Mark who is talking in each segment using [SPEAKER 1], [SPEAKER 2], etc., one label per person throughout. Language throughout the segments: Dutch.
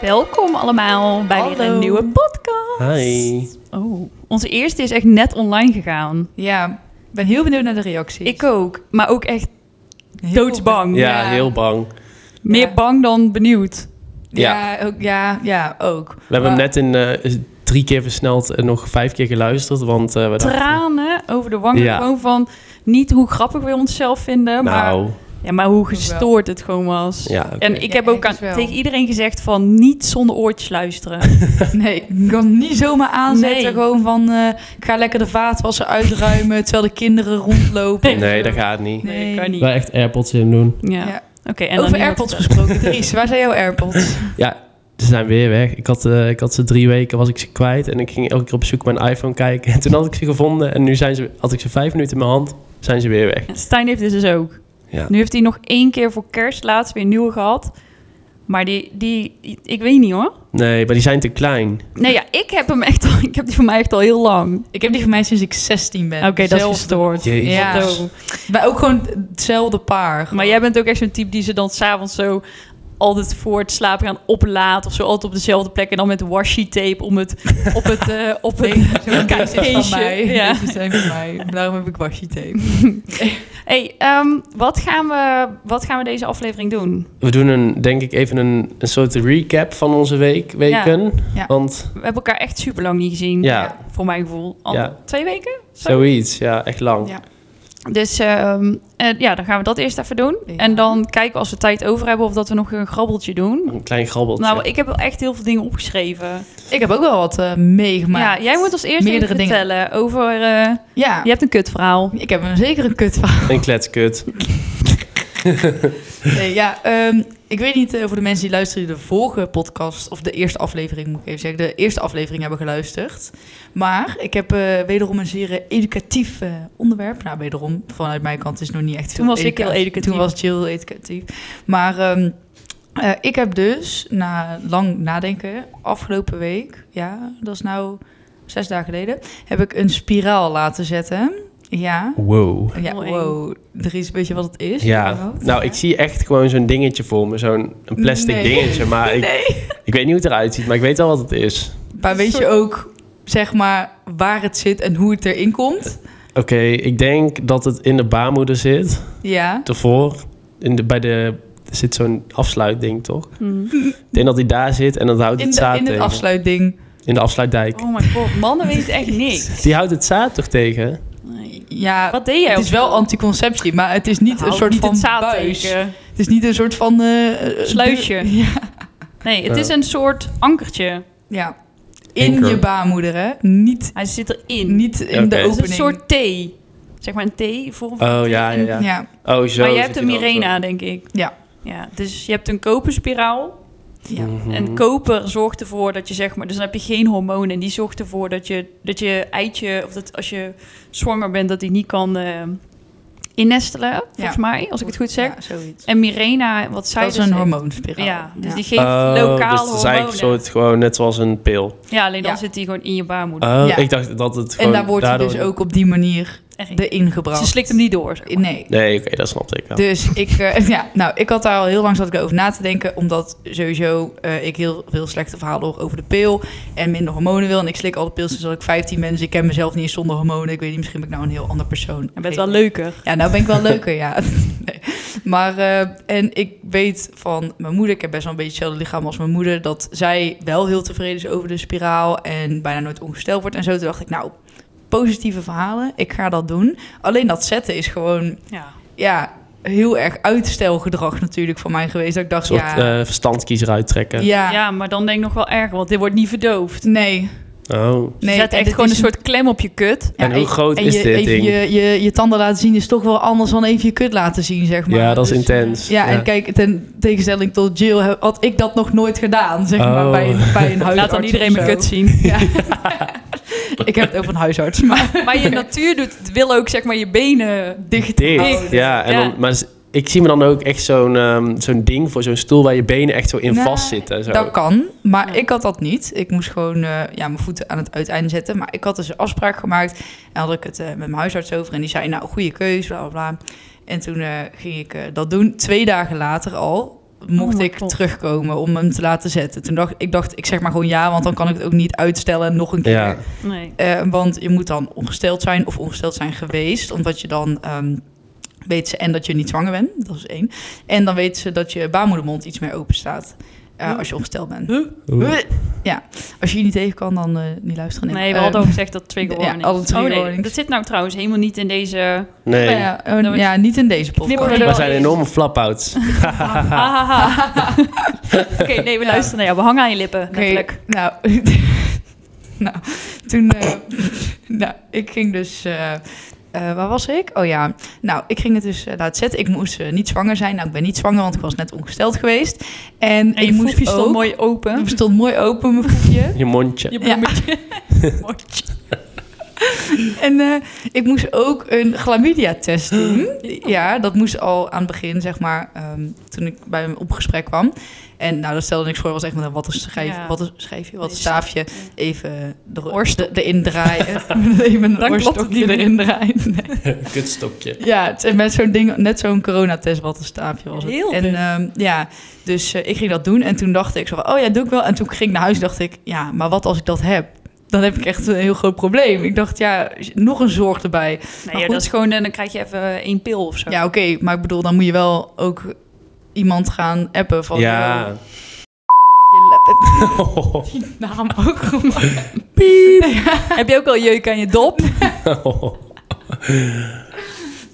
[SPEAKER 1] Welkom allemaal bij weer
[SPEAKER 2] Hallo.
[SPEAKER 1] een nieuwe podcast.
[SPEAKER 3] Hi.
[SPEAKER 1] Oh, onze eerste is echt net online gegaan.
[SPEAKER 2] Ja, ik ben heel benieuwd naar de reacties.
[SPEAKER 1] Ik ook, maar ook echt
[SPEAKER 2] Heel
[SPEAKER 1] doodsbang.
[SPEAKER 3] Ja,
[SPEAKER 2] Ja.
[SPEAKER 3] heel bang.
[SPEAKER 1] Meer
[SPEAKER 2] Ja.
[SPEAKER 1] bang dan benieuwd.
[SPEAKER 2] benieuwd. Ja, ook, ja, ja, ook.
[SPEAKER 3] We hebben hem
[SPEAKER 2] Maar-
[SPEAKER 3] net in eh, drie keer versneld en nog vijf keer geluisterd, want eh we dachten...
[SPEAKER 1] Tranen over de wangen
[SPEAKER 3] Ja.
[SPEAKER 1] gewoon van niet hoe grappig we onszelf vinden, maar,
[SPEAKER 3] Nou,
[SPEAKER 1] ja, maar hoe gestoord het gewoon was.
[SPEAKER 3] ja. oké.
[SPEAKER 1] En ik
[SPEAKER 2] Ja,
[SPEAKER 1] heb ook aan,
[SPEAKER 2] ergens wel.
[SPEAKER 1] tegen iedereen gezegd van niet zonder oortjes luisteren.
[SPEAKER 2] Nee, ik kan niet zomaar aanzetten.
[SPEAKER 1] Nee.
[SPEAKER 2] Gewoon van, eh, ik ga lekker de vaatwasser uitruimen terwijl de kinderen rondlopen.
[SPEAKER 3] Nee, dat gaat niet.
[SPEAKER 2] Nee.
[SPEAKER 1] Nee, kan niet.
[SPEAKER 3] Wij echt AirPods in doen.
[SPEAKER 1] Ja.
[SPEAKER 2] Ja.
[SPEAKER 1] Oké, en dan
[SPEAKER 2] Over
[SPEAKER 1] iemand-
[SPEAKER 2] AirPods gesproken. Dries, waar zijn jouw AirPods?
[SPEAKER 3] Ja, ze zijn weer weg. Ik had, eh, ik had ze drie weken, was ik ze kwijt. En ik ging elke keer op zoek naar mijn iPhone kijken. En toen had ik ze gevonden en nu zijn ze, had ik ze vijf minuten in mijn hand, zijn ze weer weg.
[SPEAKER 1] Stijn heeft dit dus ook.
[SPEAKER 3] Ja.
[SPEAKER 1] Nu heeft hij nog één keer voor kerst laatst weer een nieuwe gehad. Maar die, die, ik weet niet hoor.
[SPEAKER 3] Nee, maar die zijn te klein.
[SPEAKER 1] Nee, ja, ik heb hem echt al, ik heb die van mij echt al heel lang.
[SPEAKER 2] Ik heb die van mij sinds ik 16 ben.
[SPEAKER 1] Oké, dat is
[SPEAKER 2] Zelfde-
[SPEAKER 1] gestoord.
[SPEAKER 3] Jezus.
[SPEAKER 2] Ja.
[SPEAKER 1] Zo.
[SPEAKER 2] Maar ook gewoon hetzelfde paar.
[SPEAKER 1] Maar jij bent ook echt zo'n type die ze dan s'avonds zo altijd voor het slapen gaan oplaat of zo altijd op dezelfde plek en dan met washi tape om het op het eh, op het
[SPEAKER 2] Zo'n deze is
[SPEAKER 1] Keesje,
[SPEAKER 2] van mij.
[SPEAKER 1] ja.
[SPEAKER 2] Deze zijn van mij. Daarom heb ik washi tape.
[SPEAKER 1] Hey, ehm, wat gaan we wat gaan we deze aflevering doen?
[SPEAKER 3] We doen een, denk ik even een, een soort recap van onze week, weken.
[SPEAKER 2] Ja.
[SPEAKER 3] Want
[SPEAKER 1] We hebben elkaar echt super lang niet gezien.
[SPEAKER 3] ja,
[SPEAKER 1] Voor mijn gevoel al
[SPEAKER 3] Ja.
[SPEAKER 1] twee weken.
[SPEAKER 3] zoiets. Ja, echt lang.
[SPEAKER 2] Ja.
[SPEAKER 1] Dus ehm, eh, ja, dan gaan we dat eerst even doen.
[SPEAKER 2] Ja.
[SPEAKER 1] En dan kijken we als we tijd over hebben of dat we nog een grabbeltje doen.
[SPEAKER 3] Een klein grabbeltje.
[SPEAKER 1] Nou, ik heb wel echt heel veel dingen opgeschreven.
[SPEAKER 2] Ik heb ook wel wat eh, meegemaakt.
[SPEAKER 1] ja, jij moet als eerste
[SPEAKER 2] meerdere
[SPEAKER 1] even
[SPEAKER 2] dingen.
[SPEAKER 1] vertellen over... eh,
[SPEAKER 2] Ja.
[SPEAKER 1] je hebt een kutverhaal.
[SPEAKER 2] Ik heb een zeker een kutverhaal.
[SPEAKER 3] Een kletskut.
[SPEAKER 2] Nee, ja, ehm, ik weet niet eh, voor de mensen die luisteren die de vorige podcast... of de eerste aflevering, moet ik even zeggen... de eerste aflevering hebben geluisterd. Maar ik heb eh, wederom een zeer eh, educatief eh, onderwerp. Nou, wederom, vanuit mijn kant is het nog niet echt
[SPEAKER 1] Toen was ik
[SPEAKER 2] educatie.
[SPEAKER 1] heel educatief.
[SPEAKER 2] Toen was Jill educatief. Maar ehm, eh, ik heb dus, na lang nadenken, afgelopen week... ja, dat is nou zes dagen geleden... heb ik een spiraal laten zetten... Ja,
[SPEAKER 3] Wow.
[SPEAKER 2] Ja,
[SPEAKER 1] Oh, Mooi.
[SPEAKER 2] wow. Dries, weet je wat het is?
[SPEAKER 3] Ja,
[SPEAKER 2] überhaupt?
[SPEAKER 3] nou ik zie echt gewoon zo'n dingetje voor me, zo'n een plastic
[SPEAKER 2] Nee.
[SPEAKER 3] dingetje. Maar ik, ik weet niet hoe het eruit ziet, maar ik weet wel wat het is.
[SPEAKER 2] Maar weet je ook, zeg maar, waar het zit en hoe het erin komt?
[SPEAKER 3] Oké, ik denk dat het in de baarmoeder zit,
[SPEAKER 2] Ja.
[SPEAKER 3] ervoor. In de, bij de, er zit zo'n afsluitding, toch?
[SPEAKER 1] Hmm.
[SPEAKER 3] Ik denk dat die daar zit en dat houdt
[SPEAKER 2] In,
[SPEAKER 3] het
[SPEAKER 2] de,
[SPEAKER 3] zaad
[SPEAKER 2] in het
[SPEAKER 3] tegen.
[SPEAKER 2] afsluitding.
[SPEAKER 3] in de afsluitdijk.
[SPEAKER 1] Oh my god, mannen weten echt niks.
[SPEAKER 3] Die houdt het zaad toch tegen? Oh,
[SPEAKER 1] Nee.
[SPEAKER 2] Ja,
[SPEAKER 1] Wat deed jij?
[SPEAKER 2] het is wel anticonceptie, maar het is niet een
[SPEAKER 1] Houd
[SPEAKER 2] soort
[SPEAKER 1] niet
[SPEAKER 2] van
[SPEAKER 1] het zaad
[SPEAKER 2] buis.
[SPEAKER 1] tegen.
[SPEAKER 2] Het is niet een soort van... eh, eh,
[SPEAKER 1] Sluisje.
[SPEAKER 2] deur- Ja.
[SPEAKER 1] Nee, het
[SPEAKER 3] Ja.
[SPEAKER 1] is een soort ankertje.
[SPEAKER 2] ja. In
[SPEAKER 3] Anchor.
[SPEAKER 2] je baarmoeder, hè? Niet,
[SPEAKER 1] Hij zit erin.
[SPEAKER 2] niet in
[SPEAKER 3] Oké.
[SPEAKER 2] de
[SPEAKER 1] het is
[SPEAKER 3] Het
[SPEAKER 2] opening.
[SPEAKER 1] een soort thee. Zeg maar een thee voor
[SPEAKER 3] Oh ja, ja, ja.
[SPEAKER 2] Ja. ja.
[SPEAKER 3] Oh, zo
[SPEAKER 1] Maar je
[SPEAKER 3] zit
[SPEAKER 1] hebt een
[SPEAKER 3] die dan
[SPEAKER 1] Mirena, denk ik.
[SPEAKER 2] Ja.
[SPEAKER 1] ja. Dus je hebt een koperspiraal.
[SPEAKER 3] zo. Mhm.
[SPEAKER 1] En koper zorgt ervoor dat je zeg maar, dus dan heb je geen hormonen. En die zorgt ervoor dat je, dat je eitje, of dat als je zwanger bent, dat die niet kan eh, innestelen. Volgens mij, als ik het goed zeg.
[SPEAKER 2] Ja, zoiets.
[SPEAKER 1] En Mirena, wat zij
[SPEAKER 2] Dat is
[SPEAKER 1] dus
[SPEAKER 2] een
[SPEAKER 1] heeft-
[SPEAKER 2] hormoonspiraal.
[SPEAKER 1] Ja, dus
[SPEAKER 2] Ja.
[SPEAKER 1] die geeft
[SPEAKER 3] Oh,
[SPEAKER 1] lokaal
[SPEAKER 3] dus het is eigenlijk
[SPEAKER 1] hormonen.
[SPEAKER 3] een soort gewoon net zoals een pil.
[SPEAKER 1] Ja, alleen dan
[SPEAKER 2] Ja.
[SPEAKER 1] zit die gewoon in je baarmoeder.
[SPEAKER 3] Oh,
[SPEAKER 2] Ja.
[SPEAKER 3] ik dacht dat het gewoon
[SPEAKER 2] En daar wordt hij
[SPEAKER 3] daardoor-
[SPEAKER 2] dus ook op die manier
[SPEAKER 1] Echt niet.
[SPEAKER 2] erin gebracht.
[SPEAKER 1] Ze slikt hem niet door. zeg maar.
[SPEAKER 2] Nee.
[SPEAKER 3] Nee, oké, dat snap ik wel.
[SPEAKER 2] Dus ik, eh, ja, nou, ik had daar al heel lang zat ik over na te denken. Omdat sowieso eh, ik heel veel slechte verhalen hoor over de pil. En minder hormonen wil. En ik slik al de pil sinds dat ik 15 ben. Dus ik ken mezelf niet eens zonder hormonen. Ik weet niet, misschien ben ik nou een heel ander persoon.
[SPEAKER 1] Je bent wel leuker.
[SPEAKER 2] Ja, nou ben ik wel leuker, ja. Nee. Maar, eh, en ik weet van mijn moeder, ik heb best wel een beetje hetzelfde lichaam als mijn moeder, dat zij wel heel tevreden is over de spiraal en bijna nooit ongesteld wordt en zo. Toen dacht ik, nou, positieve verhalen, ik ga dat doen. Alleen dat zetten is gewoon
[SPEAKER 1] Ja.
[SPEAKER 2] ja, heel erg uitstelgedrag natuurlijk van mij geweest. Dat ik
[SPEAKER 3] Een
[SPEAKER 2] dacht,
[SPEAKER 3] soort
[SPEAKER 2] ja,
[SPEAKER 3] eh, verstandkiezer uittrekken.
[SPEAKER 2] ja,
[SPEAKER 1] Ja. maar dan denk ik nog wel erger, want dit wordt niet verdoofd.
[SPEAKER 2] nee.
[SPEAKER 3] Oh.
[SPEAKER 2] nee
[SPEAKER 1] Dus je zet
[SPEAKER 2] en
[SPEAKER 1] echt
[SPEAKER 2] dit
[SPEAKER 1] gewoon
[SPEAKER 2] is
[SPEAKER 1] een soort klem op je kut.
[SPEAKER 3] En hoe groot is
[SPEAKER 2] je,
[SPEAKER 3] dit
[SPEAKER 2] even
[SPEAKER 3] ding?
[SPEAKER 2] Je, je, je tanden laten zien is toch wel anders dan even je kut laten zien, zeg maar.
[SPEAKER 3] ja, dat is
[SPEAKER 2] Dus,
[SPEAKER 3] intens.
[SPEAKER 2] Ja, en kijk, ten tegenstelling tot Jill he- had ik dat nog nooit gedaan, zeg maar,
[SPEAKER 3] Oh.
[SPEAKER 2] bij, een- bij een huisarts.
[SPEAKER 1] Laat dan
[SPEAKER 2] of
[SPEAKER 1] iedereen mijn
[SPEAKER 2] zo.
[SPEAKER 1] kut zien.
[SPEAKER 2] Ik heb het over een huisarts, maar
[SPEAKER 1] Maar je natuur doet, het wil ook zeg maar je benen dicht.
[SPEAKER 3] Dit, ja. En
[SPEAKER 1] Ja.
[SPEAKER 3] Dan, maar z- ik zie me dan ook echt zo'n ehm, zo'n ding voor zo'n stoel waar je benen echt zo in
[SPEAKER 2] Nee,
[SPEAKER 3] vastzitten. eh, Zo.
[SPEAKER 2] dat kan. Maar
[SPEAKER 1] Ja.
[SPEAKER 2] ik had dat niet. Ik moest gewoon eh, ja, mijn voeten aan het uiteinde zetten. Maar ik had dus een afspraak gemaakt. En had ik het eh, met mijn huisarts over. En die zei, nou, goede keus, bla, bla, bla. En toen eh, ging ik eh, dat doen. Twee dagen later al mocht
[SPEAKER 1] Oh my
[SPEAKER 2] ik
[SPEAKER 1] God.
[SPEAKER 2] terugkomen om hem te laten zetten. Toen dacht ik, dacht, ik zeg maar gewoon ja, want dan kan ik het ook niet uitstellen en nog een keer.
[SPEAKER 3] Ja,
[SPEAKER 1] Nee.
[SPEAKER 2] Eh, want je moet dan ongesteld zijn of ongesteld zijn geweest, omdat je dan ehm weet ze en dat je niet zwanger bent, dat is één. En dan weten ze dat je baarmoedermond iets meer open staat eh,
[SPEAKER 1] Huh?
[SPEAKER 2] als je ongesteld bent.
[SPEAKER 1] Huh?
[SPEAKER 3] Oeh.
[SPEAKER 2] Ja, als je hier niet tegen kan, dan eh, niet luisteren.
[SPEAKER 1] Nee, we
[SPEAKER 2] Eh,
[SPEAKER 1] hadden ook gezegd dat trigger
[SPEAKER 2] ja,
[SPEAKER 1] warnings.
[SPEAKER 2] alle trigger
[SPEAKER 1] oh, nee,
[SPEAKER 2] warnings.
[SPEAKER 1] dat zit nou trouwens helemaal niet in deze...
[SPEAKER 3] nee.
[SPEAKER 2] nou ja, eh,
[SPEAKER 1] Dan-
[SPEAKER 2] ja, niet in deze
[SPEAKER 1] Knippen
[SPEAKER 2] podcast.
[SPEAKER 1] we er
[SPEAKER 3] We
[SPEAKER 1] wel
[SPEAKER 3] zijn
[SPEAKER 1] in.
[SPEAKER 3] enorme flapouts.
[SPEAKER 1] Hahaha. Oké, nee, we luisteren naar jou. We hangen aan je lippen,
[SPEAKER 2] Oké,
[SPEAKER 1] letterlijk.
[SPEAKER 2] nou, nou, toen, eh, nou, ik ging dus, eh, eh, waar was ik? Oh ja, nou, ik ging het dus eh, laten zetten. Ik moest eh, niet zwanger zijn. Nou, ik ben niet zwanger, want ik was net ongesteld geweest. En,
[SPEAKER 1] En je
[SPEAKER 2] ik moest
[SPEAKER 1] voefje
[SPEAKER 2] ook,
[SPEAKER 1] stond mooi open.
[SPEAKER 2] Het stond mooi open, mijn voetje.
[SPEAKER 3] Je mondje.
[SPEAKER 1] Je bloemetje. Mondje.
[SPEAKER 2] en eh, ik moest ook een chlamydia-test doen. Ja, dat moest al aan het begin, zeg maar, ehm, toen ik bij hem op gesprek kwam. En nou, dat stelde niks voor. was echt met een wat een schijf,
[SPEAKER 1] Ja.
[SPEAKER 2] wat een schijfje, wat een
[SPEAKER 1] Nee,
[SPEAKER 2] staafje.
[SPEAKER 1] ja.
[SPEAKER 2] Even de,
[SPEAKER 1] Oorstok.
[SPEAKER 2] de, erin draaien. Even
[SPEAKER 1] klopt
[SPEAKER 2] een
[SPEAKER 1] het
[SPEAKER 2] oorstokje
[SPEAKER 1] niet meer.
[SPEAKER 2] erin draaien. Nee.
[SPEAKER 3] Kutstokje.
[SPEAKER 2] Ja, het is met zo'n ding, net zo'n coronatest, wat een staafje was het.
[SPEAKER 1] Heel
[SPEAKER 2] en
[SPEAKER 1] dun.
[SPEAKER 2] ehm, ja, dus eh, ik ging dat doen. En toen dacht ik zo van, oh ja, doe ik wel. En toen ging ik naar huis dacht ik, ja, maar wat als ik dat heb? Dan heb ik echt een heel groot probleem. Ik dacht, ja, nog een zorg erbij.
[SPEAKER 1] Nee,
[SPEAKER 2] Maar
[SPEAKER 1] ja,
[SPEAKER 2] goed.
[SPEAKER 1] dat is gewoon... eh, Dan krijg je even eh, één pil of zo.
[SPEAKER 2] Ja, oké, maar ik bedoel, dan moet je wel ook iemand gaan appen van...
[SPEAKER 3] Ja.
[SPEAKER 2] "Yo, Je lep die naam ook gemaakt. Ja.
[SPEAKER 1] Heb je ook al jeuk aan je dop?
[SPEAKER 3] Ah,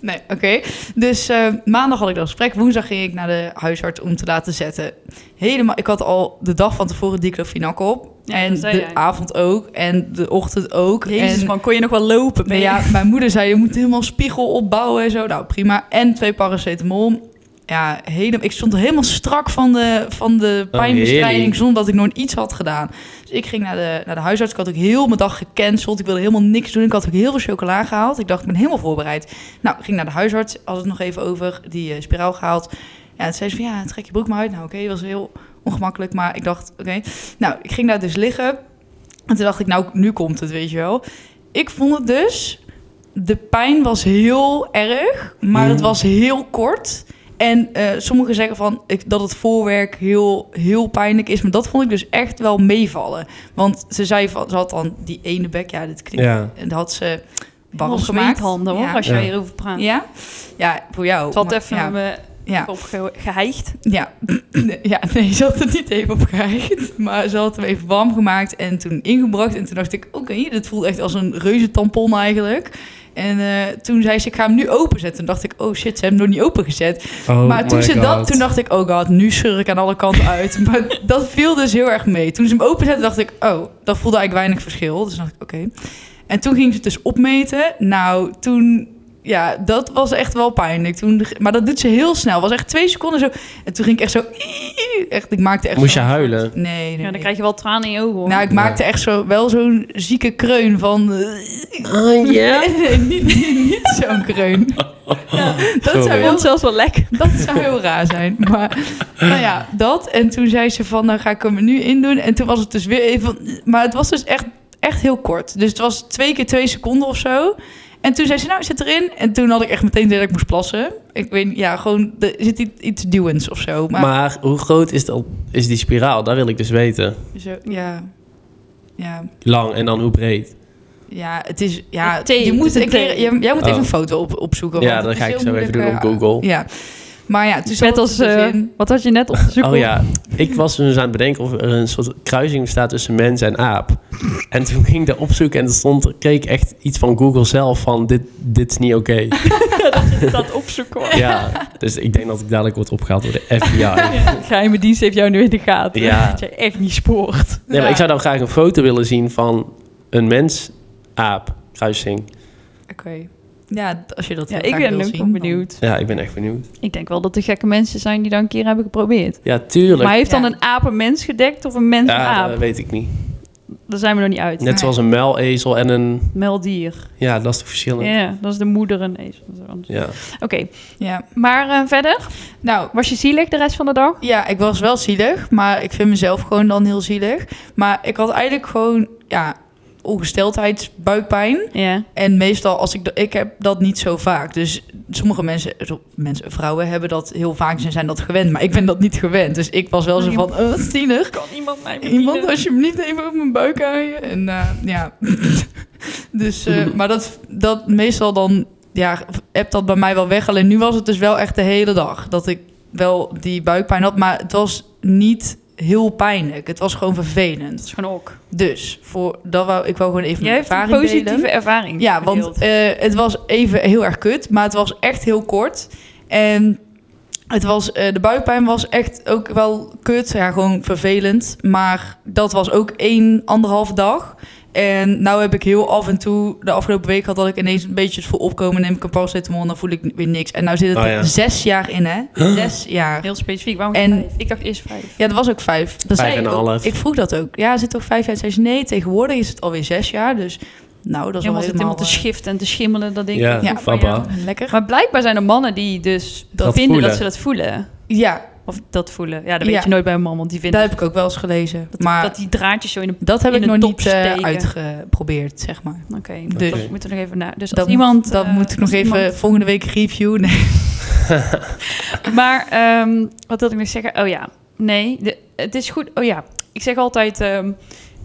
[SPEAKER 2] Nee, oké. Dus eh, maandag had ik dat gesprek. Woensdag ging ik naar de huisarts om te laten zetten. Helemaal, ik had al de dag van tevoren diclofenac op.
[SPEAKER 1] Ja,
[SPEAKER 2] en
[SPEAKER 1] dat
[SPEAKER 2] de
[SPEAKER 1] zei jij.
[SPEAKER 2] avond ook. En de ochtend ook.
[SPEAKER 1] Jezus
[SPEAKER 2] en,
[SPEAKER 1] man, kon je nog wel lopen? Ben
[SPEAKER 2] nou
[SPEAKER 1] je-
[SPEAKER 2] ja, mijn moeder zei, je moet helemaal spiegel opbouwen en zo. Nou, prima. En twee paracetamol. Ja, helemaal, ik stond helemaal strak van de, van de
[SPEAKER 3] Oh,
[SPEAKER 2] pijnbestrijding
[SPEAKER 3] heerlijk.
[SPEAKER 2] zonder dat ik nooit iets had gedaan. Dus ik ging naar de, naar de huisarts. Ik had ook heel mijn dag gecanceld. Ik wilde helemaal niks doen. Ik had ook heel veel chocola gehaald. Ik dacht, ik ben helemaal voorbereid. Nou, ik ging naar de huisarts. Had het nog even over. Die eh, spiraal gehaald. Ja, toen zei ze van, ja, trek je broek maar uit. Nou, oké, was heel ongemakkelijk. Maar ik dacht, oké. Nou, ik ging daar dus liggen. En toen dacht ik, nou, nu komt het, weet je wel. Ik vond het dus... De pijn was heel erg, maar het
[SPEAKER 3] Hmm.
[SPEAKER 2] was heel kort. En eh, sommigen zeggen van, ik, dat het voorwerk heel, heel pijnlijk is. Maar dat vond ik dus echt wel meevallen. Want ze zei van, ze had dan die ene bek, ja, dit klinkt.
[SPEAKER 3] Ja.
[SPEAKER 2] En dat had ze
[SPEAKER 1] Helemaal
[SPEAKER 2] warm gemaakt.
[SPEAKER 1] zweethanden hoor,
[SPEAKER 2] ja.
[SPEAKER 1] als je
[SPEAKER 3] Ja.
[SPEAKER 1] hierover praat.
[SPEAKER 2] Ja? ja, voor jou.
[SPEAKER 1] Het had
[SPEAKER 2] maar-
[SPEAKER 1] even
[SPEAKER 2] ja,
[SPEAKER 1] eh,
[SPEAKER 2] ja.
[SPEAKER 1] opge- gehijgd.
[SPEAKER 2] Ja. Nee, ja, nee, ze had het niet even opgereikt. Maar ze had hem even warm gemaakt en toen ingebracht. En toen dacht ik, oké, dit voelt echt als een reuze tampon eigenlijk. En eh, toen zei ze, ik ga hem nu openzetten. Toen dacht ik, oh shit, ze hebben hem nog niet opengezet.
[SPEAKER 3] Oh
[SPEAKER 2] maar toen
[SPEAKER 3] my
[SPEAKER 2] ze dat,
[SPEAKER 3] God.
[SPEAKER 2] toen dacht ik, oh god, nu scheur ik aan alle kanten uit. maar dat viel dus heel erg mee. Toen ze hem openzette, dacht ik, oh, dat voelde eigenlijk weinig verschil. Dus dacht ik, oké. En toen ging ze het dus opmeten. Nou, toen... Ja, dat was echt wel pijnlijk. Toen, maar dat doet ze heel snel. was echt twee seconden zo. En toen ging ik echt zo... Echt, ik maakte echt
[SPEAKER 3] Moest je
[SPEAKER 2] zo-
[SPEAKER 3] huilen?
[SPEAKER 2] Nee, nee,
[SPEAKER 1] Ja, dan
[SPEAKER 2] nee.
[SPEAKER 1] krijg je wel tranen in je ogen hoor.
[SPEAKER 2] Nou, ik maakte echt zo, wel zo'n zieke kreun van...
[SPEAKER 3] Oh
[SPEAKER 2] Nee, nee, niet, niet, niet zo'n kreun. Ja, dat, zou
[SPEAKER 3] Sorry.
[SPEAKER 1] vond
[SPEAKER 2] heel,
[SPEAKER 1] het zelfs wel lekker.
[SPEAKER 2] dat zou heel raar zijn. Maar nou ja, dat. En toen zei ze van, nou ga ik hem er nu in doen. En toen was het dus weer even... Maar het was dus echt, echt heel kort. Dus het was twee keer twee seconden of zo. En toen zei ze, nou zit erin. En toen had ik echt meteen dat ik moest plassen. Ik weet niet, ja, gewoon... Er zit iets- iets duwends of zo. Maar,
[SPEAKER 3] Maar hoe groot is, dat, is die spiraal? Dat wil ik dus weten.
[SPEAKER 2] zo, ja... Ja,
[SPEAKER 3] Lang en dan hoe breed?
[SPEAKER 2] Ja, het is. Ja,
[SPEAKER 1] Een thee,
[SPEAKER 2] je
[SPEAKER 1] het
[SPEAKER 2] moet
[SPEAKER 1] is een
[SPEAKER 2] een keer,
[SPEAKER 1] thee.
[SPEAKER 2] jij, jij moet even
[SPEAKER 3] Oh.
[SPEAKER 2] een foto op, opzoeken.
[SPEAKER 3] Ja,
[SPEAKER 2] want
[SPEAKER 3] dat
[SPEAKER 2] het
[SPEAKER 3] ga
[SPEAKER 2] is
[SPEAKER 3] ik
[SPEAKER 2] heel
[SPEAKER 3] zo even doen
[SPEAKER 2] moeilijk,
[SPEAKER 3] op
[SPEAKER 2] eh,
[SPEAKER 3] Google.
[SPEAKER 2] Ja. Maar ja, toen zat
[SPEAKER 1] Net
[SPEAKER 2] het
[SPEAKER 1] als,
[SPEAKER 2] dus
[SPEAKER 1] eh,
[SPEAKER 2] in-
[SPEAKER 1] wat had je net opgezocht?
[SPEAKER 3] Oh ja, ik was dus aan het bedenken of er een soort kruising bestaat tussen mens en aap. En toen ging ik daar opzoeken en er stond, kreeg ik echt iets van Google zelf van dit, dit is niet oké.
[SPEAKER 1] dat opzoeken hoor.
[SPEAKER 3] Ja, dus ik denk dat ik dadelijk word opgehaald door de FBI.
[SPEAKER 1] Geheime dienst heeft jou nu in de gaten.
[SPEAKER 3] Ja.
[SPEAKER 1] Dat je echt niet spoort.
[SPEAKER 3] Nee, maar
[SPEAKER 2] Ja.
[SPEAKER 3] ik zou dan graag een foto willen zien van een mens-aap kruising.
[SPEAKER 2] Oké. Ja, d- als je dat
[SPEAKER 1] Ja,
[SPEAKER 2] heel
[SPEAKER 1] ik
[SPEAKER 2] graag
[SPEAKER 1] ben
[SPEAKER 2] wil
[SPEAKER 1] ook
[SPEAKER 2] zien,
[SPEAKER 1] wel
[SPEAKER 2] dan-
[SPEAKER 1] benieuwd.
[SPEAKER 3] Ja, ik ben echt benieuwd.
[SPEAKER 1] Ik denk wel dat er gekke mensen zijn die dat een keer hebben geprobeerd.
[SPEAKER 3] Ja, tuurlijk.
[SPEAKER 1] Maar heeft dan
[SPEAKER 2] Ja.
[SPEAKER 1] een aap een mens gedekt of een mens een
[SPEAKER 3] ja, dat
[SPEAKER 1] aap?
[SPEAKER 3] weet ik niet.
[SPEAKER 1] Daar zijn we nog niet uit.
[SPEAKER 3] Net zoals een muilezel en een...
[SPEAKER 1] Meldier.
[SPEAKER 3] Ja, dat is toch
[SPEAKER 1] Ja,
[SPEAKER 3] verschillend?
[SPEAKER 1] dat is de moeder en nee, dat is wat anders.
[SPEAKER 3] Ja.
[SPEAKER 1] Oké,
[SPEAKER 2] Ja.
[SPEAKER 1] maar eh, verder?
[SPEAKER 2] Nou,
[SPEAKER 1] Was je zielig de rest van de dag?
[SPEAKER 2] ja, ik was wel zielig, maar ik vind mezelf gewoon dan heel zielig. Maar ik had eigenlijk gewoon, ja, ongesteldheidsbuikpijn.
[SPEAKER 1] Ja.
[SPEAKER 2] En meestal, als ik, da- ik heb dat niet zo vaak. Dus sommige mensen, zo- mensen, vrouwen hebben dat heel vaak en zijn dat gewend. Maar ik ben dat niet gewend. Dus ik was wel zo van, eh, wat tiener.
[SPEAKER 1] Kan iemand mij
[SPEAKER 2] Iemand alsjeblieft even op mijn buik aaien. En eh, ja, dus, eh, maar dat, dat meestal dan, ja, heb dat bij mij wel weg. Alleen nu was het dus wel echt de hele dag dat ik wel die buikpijn had. Maar het was niet heel pijnlijk. Het was gewoon vervelend.
[SPEAKER 1] Gewoon ook.
[SPEAKER 2] Dus voor, dat wou, ik wou gewoon even
[SPEAKER 1] Jij
[SPEAKER 2] mijn
[SPEAKER 1] hebt een
[SPEAKER 2] ervaring
[SPEAKER 1] positieve
[SPEAKER 2] delen.
[SPEAKER 1] ervaring.
[SPEAKER 2] Ja, want
[SPEAKER 1] gedeeld.
[SPEAKER 2] eh, het was even heel erg kut, maar het was echt heel kort. En het was, eh, de buikpijn was echt ook wel kut, ja, gewoon vervelend. Maar dat was ook één, anderhalf dag. En nou heb ik heel af en toe, de afgelopen week had dat ik ineens een beetje het voel opkomen, neem ik een paracetamol, dan voel ik weer niks. En nou zit het
[SPEAKER 3] Oh,
[SPEAKER 2] er
[SPEAKER 3] ja.
[SPEAKER 2] zes jaar in, hè? Zes jaar.
[SPEAKER 1] heel specifiek. Waarom
[SPEAKER 2] en-
[SPEAKER 1] vijf? Ik dacht eerst vijf.
[SPEAKER 2] Ja, dat was ook vijf. Dat
[SPEAKER 3] Vijf
[SPEAKER 2] zei
[SPEAKER 3] en
[SPEAKER 2] ik
[SPEAKER 3] een
[SPEAKER 2] ook.
[SPEAKER 3] half.
[SPEAKER 2] Ik vroeg dat ook. Ja, zit toch vijf jaar? Zei ze, nee, tegenwoordig is het alweer zes jaar. Dus nou, dat is
[SPEAKER 1] Helemaal
[SPEAKER 2] wel
[SPEAKER 1] zit helemaal
[SPEAKER 2] helemaal...
[SPEAKER 1] te schiften en te schimmelen, dat ding.
[SPEAKER 3] Ja,
[SPEAKER 1] Van
[SPEAKER 3] papa.
[SPEAKER 1] jou.
[SPEAKER 2] eh, Lekker.
[SPEAKER 1] Maar blijkbaar zijn er mannen die dus
[SPEAKER 3] Dat
[SPEAKER 1] vinden
[SPEAKER 3] voelen.
[SPEAKER 1] dat ze dat voelen.
[SPEAKER 2] Ja,
[SPEAKER 1] Of dat voelen. Ja, dat weet
[SPEAKER 2] Ja.
[SPEAKER 1] je nooit bij een man, want die vinden
[SPEAKER 2] dat heb ik ook wel eens gelezen. maar
[SPEAKER 1] dat
[SPEAKER 2] dat,
[SPEAKER 1] die draadjes zo in de...
[SPEAKER 2] heb
[SPEAKER 1] in
[SPEAKER 2] ik
[SPEAKER 1] de
[SPEAKER 2] nog
[SPEAKER 1] top
[SPEAKER 2] niet eh,
[SPEAKER 1] steken.
[SPEAKER 2] uitgeprobeerd, zeg maar.
[SPEAKER 1] Oké,
[SPEAKER 2] Dus-
[SPEAKER 1] dat moeten we nog even naar. Dus als
[SPEAKER 2] Dat,
[SPEAKER 1] iemand...
[SPEAKER 2] dat
[SPEAKER 1] eh,
[SPEAKER 2] moet ik nog
[SPEAKER 1] als
[SPEAKER 2] even
[SPEAKER 1] iemand-
[SPEAKER 2] volgende week reviewen. Nee.
[SPEAKER 1] Maar ehm, wat wilde ik nog zeggen? Oh ja, nee, de- het is goed. Oh ja, ik zeg altijd... ehm,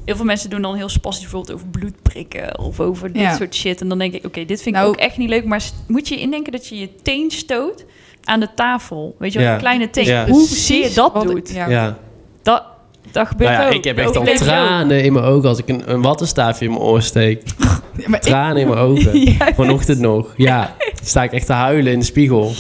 [SPEAKER 1] heel veel mensen doen dan heel spastisch bijvoorbeeld over bloedprikken... of over dit
[SPEAKER 2] Ja.
[SPEAKER 1] soort shit. En dan denk ik, oké, dit vind
[SPEAKER 2] Nou-
[SPEAKER 1] ik ook echt niet leuk. Maar s- moet je indenken dat je je teen stoot aan de tafel? Weet je wel,
[SPEAKER 3] Ja.
[SPEAKER 1] een kleine teen.
[SPEAKER 3] Ja.
[SPEAKER 1] Hoe
[SPEAKER 2] Precies
[SPEAKER 1] zie je dat
[SPEAKER 2] wat ik-
[SPEAKER 1] doet?
[SPEAKER 2] ja.
[SPEAKER 3] ja.
[SPEAKER 1] Dat, dat gebeurt
[SPEAKER 3] Nou ja,
[SPEAKER 1] ook.
[SPEAKER 3] ik heb
[SPEAKER 1] Dat
[SPEAKER 3] echt al
[SPEAKER 1] overleef je ook.
[SPEAKER 3] tranen in mijn ogen als ik een, een wattenstaafje in mijn oor steek.
[SPEAKER 2] Ja, maar ik,
[SPEAKER 3] Tranen in mijn ogen.
[SPEAKER 1] Ja.
[SPEAKER 3] Vanochtend nog. Ja, sta ik echt te huilen in de spiegel.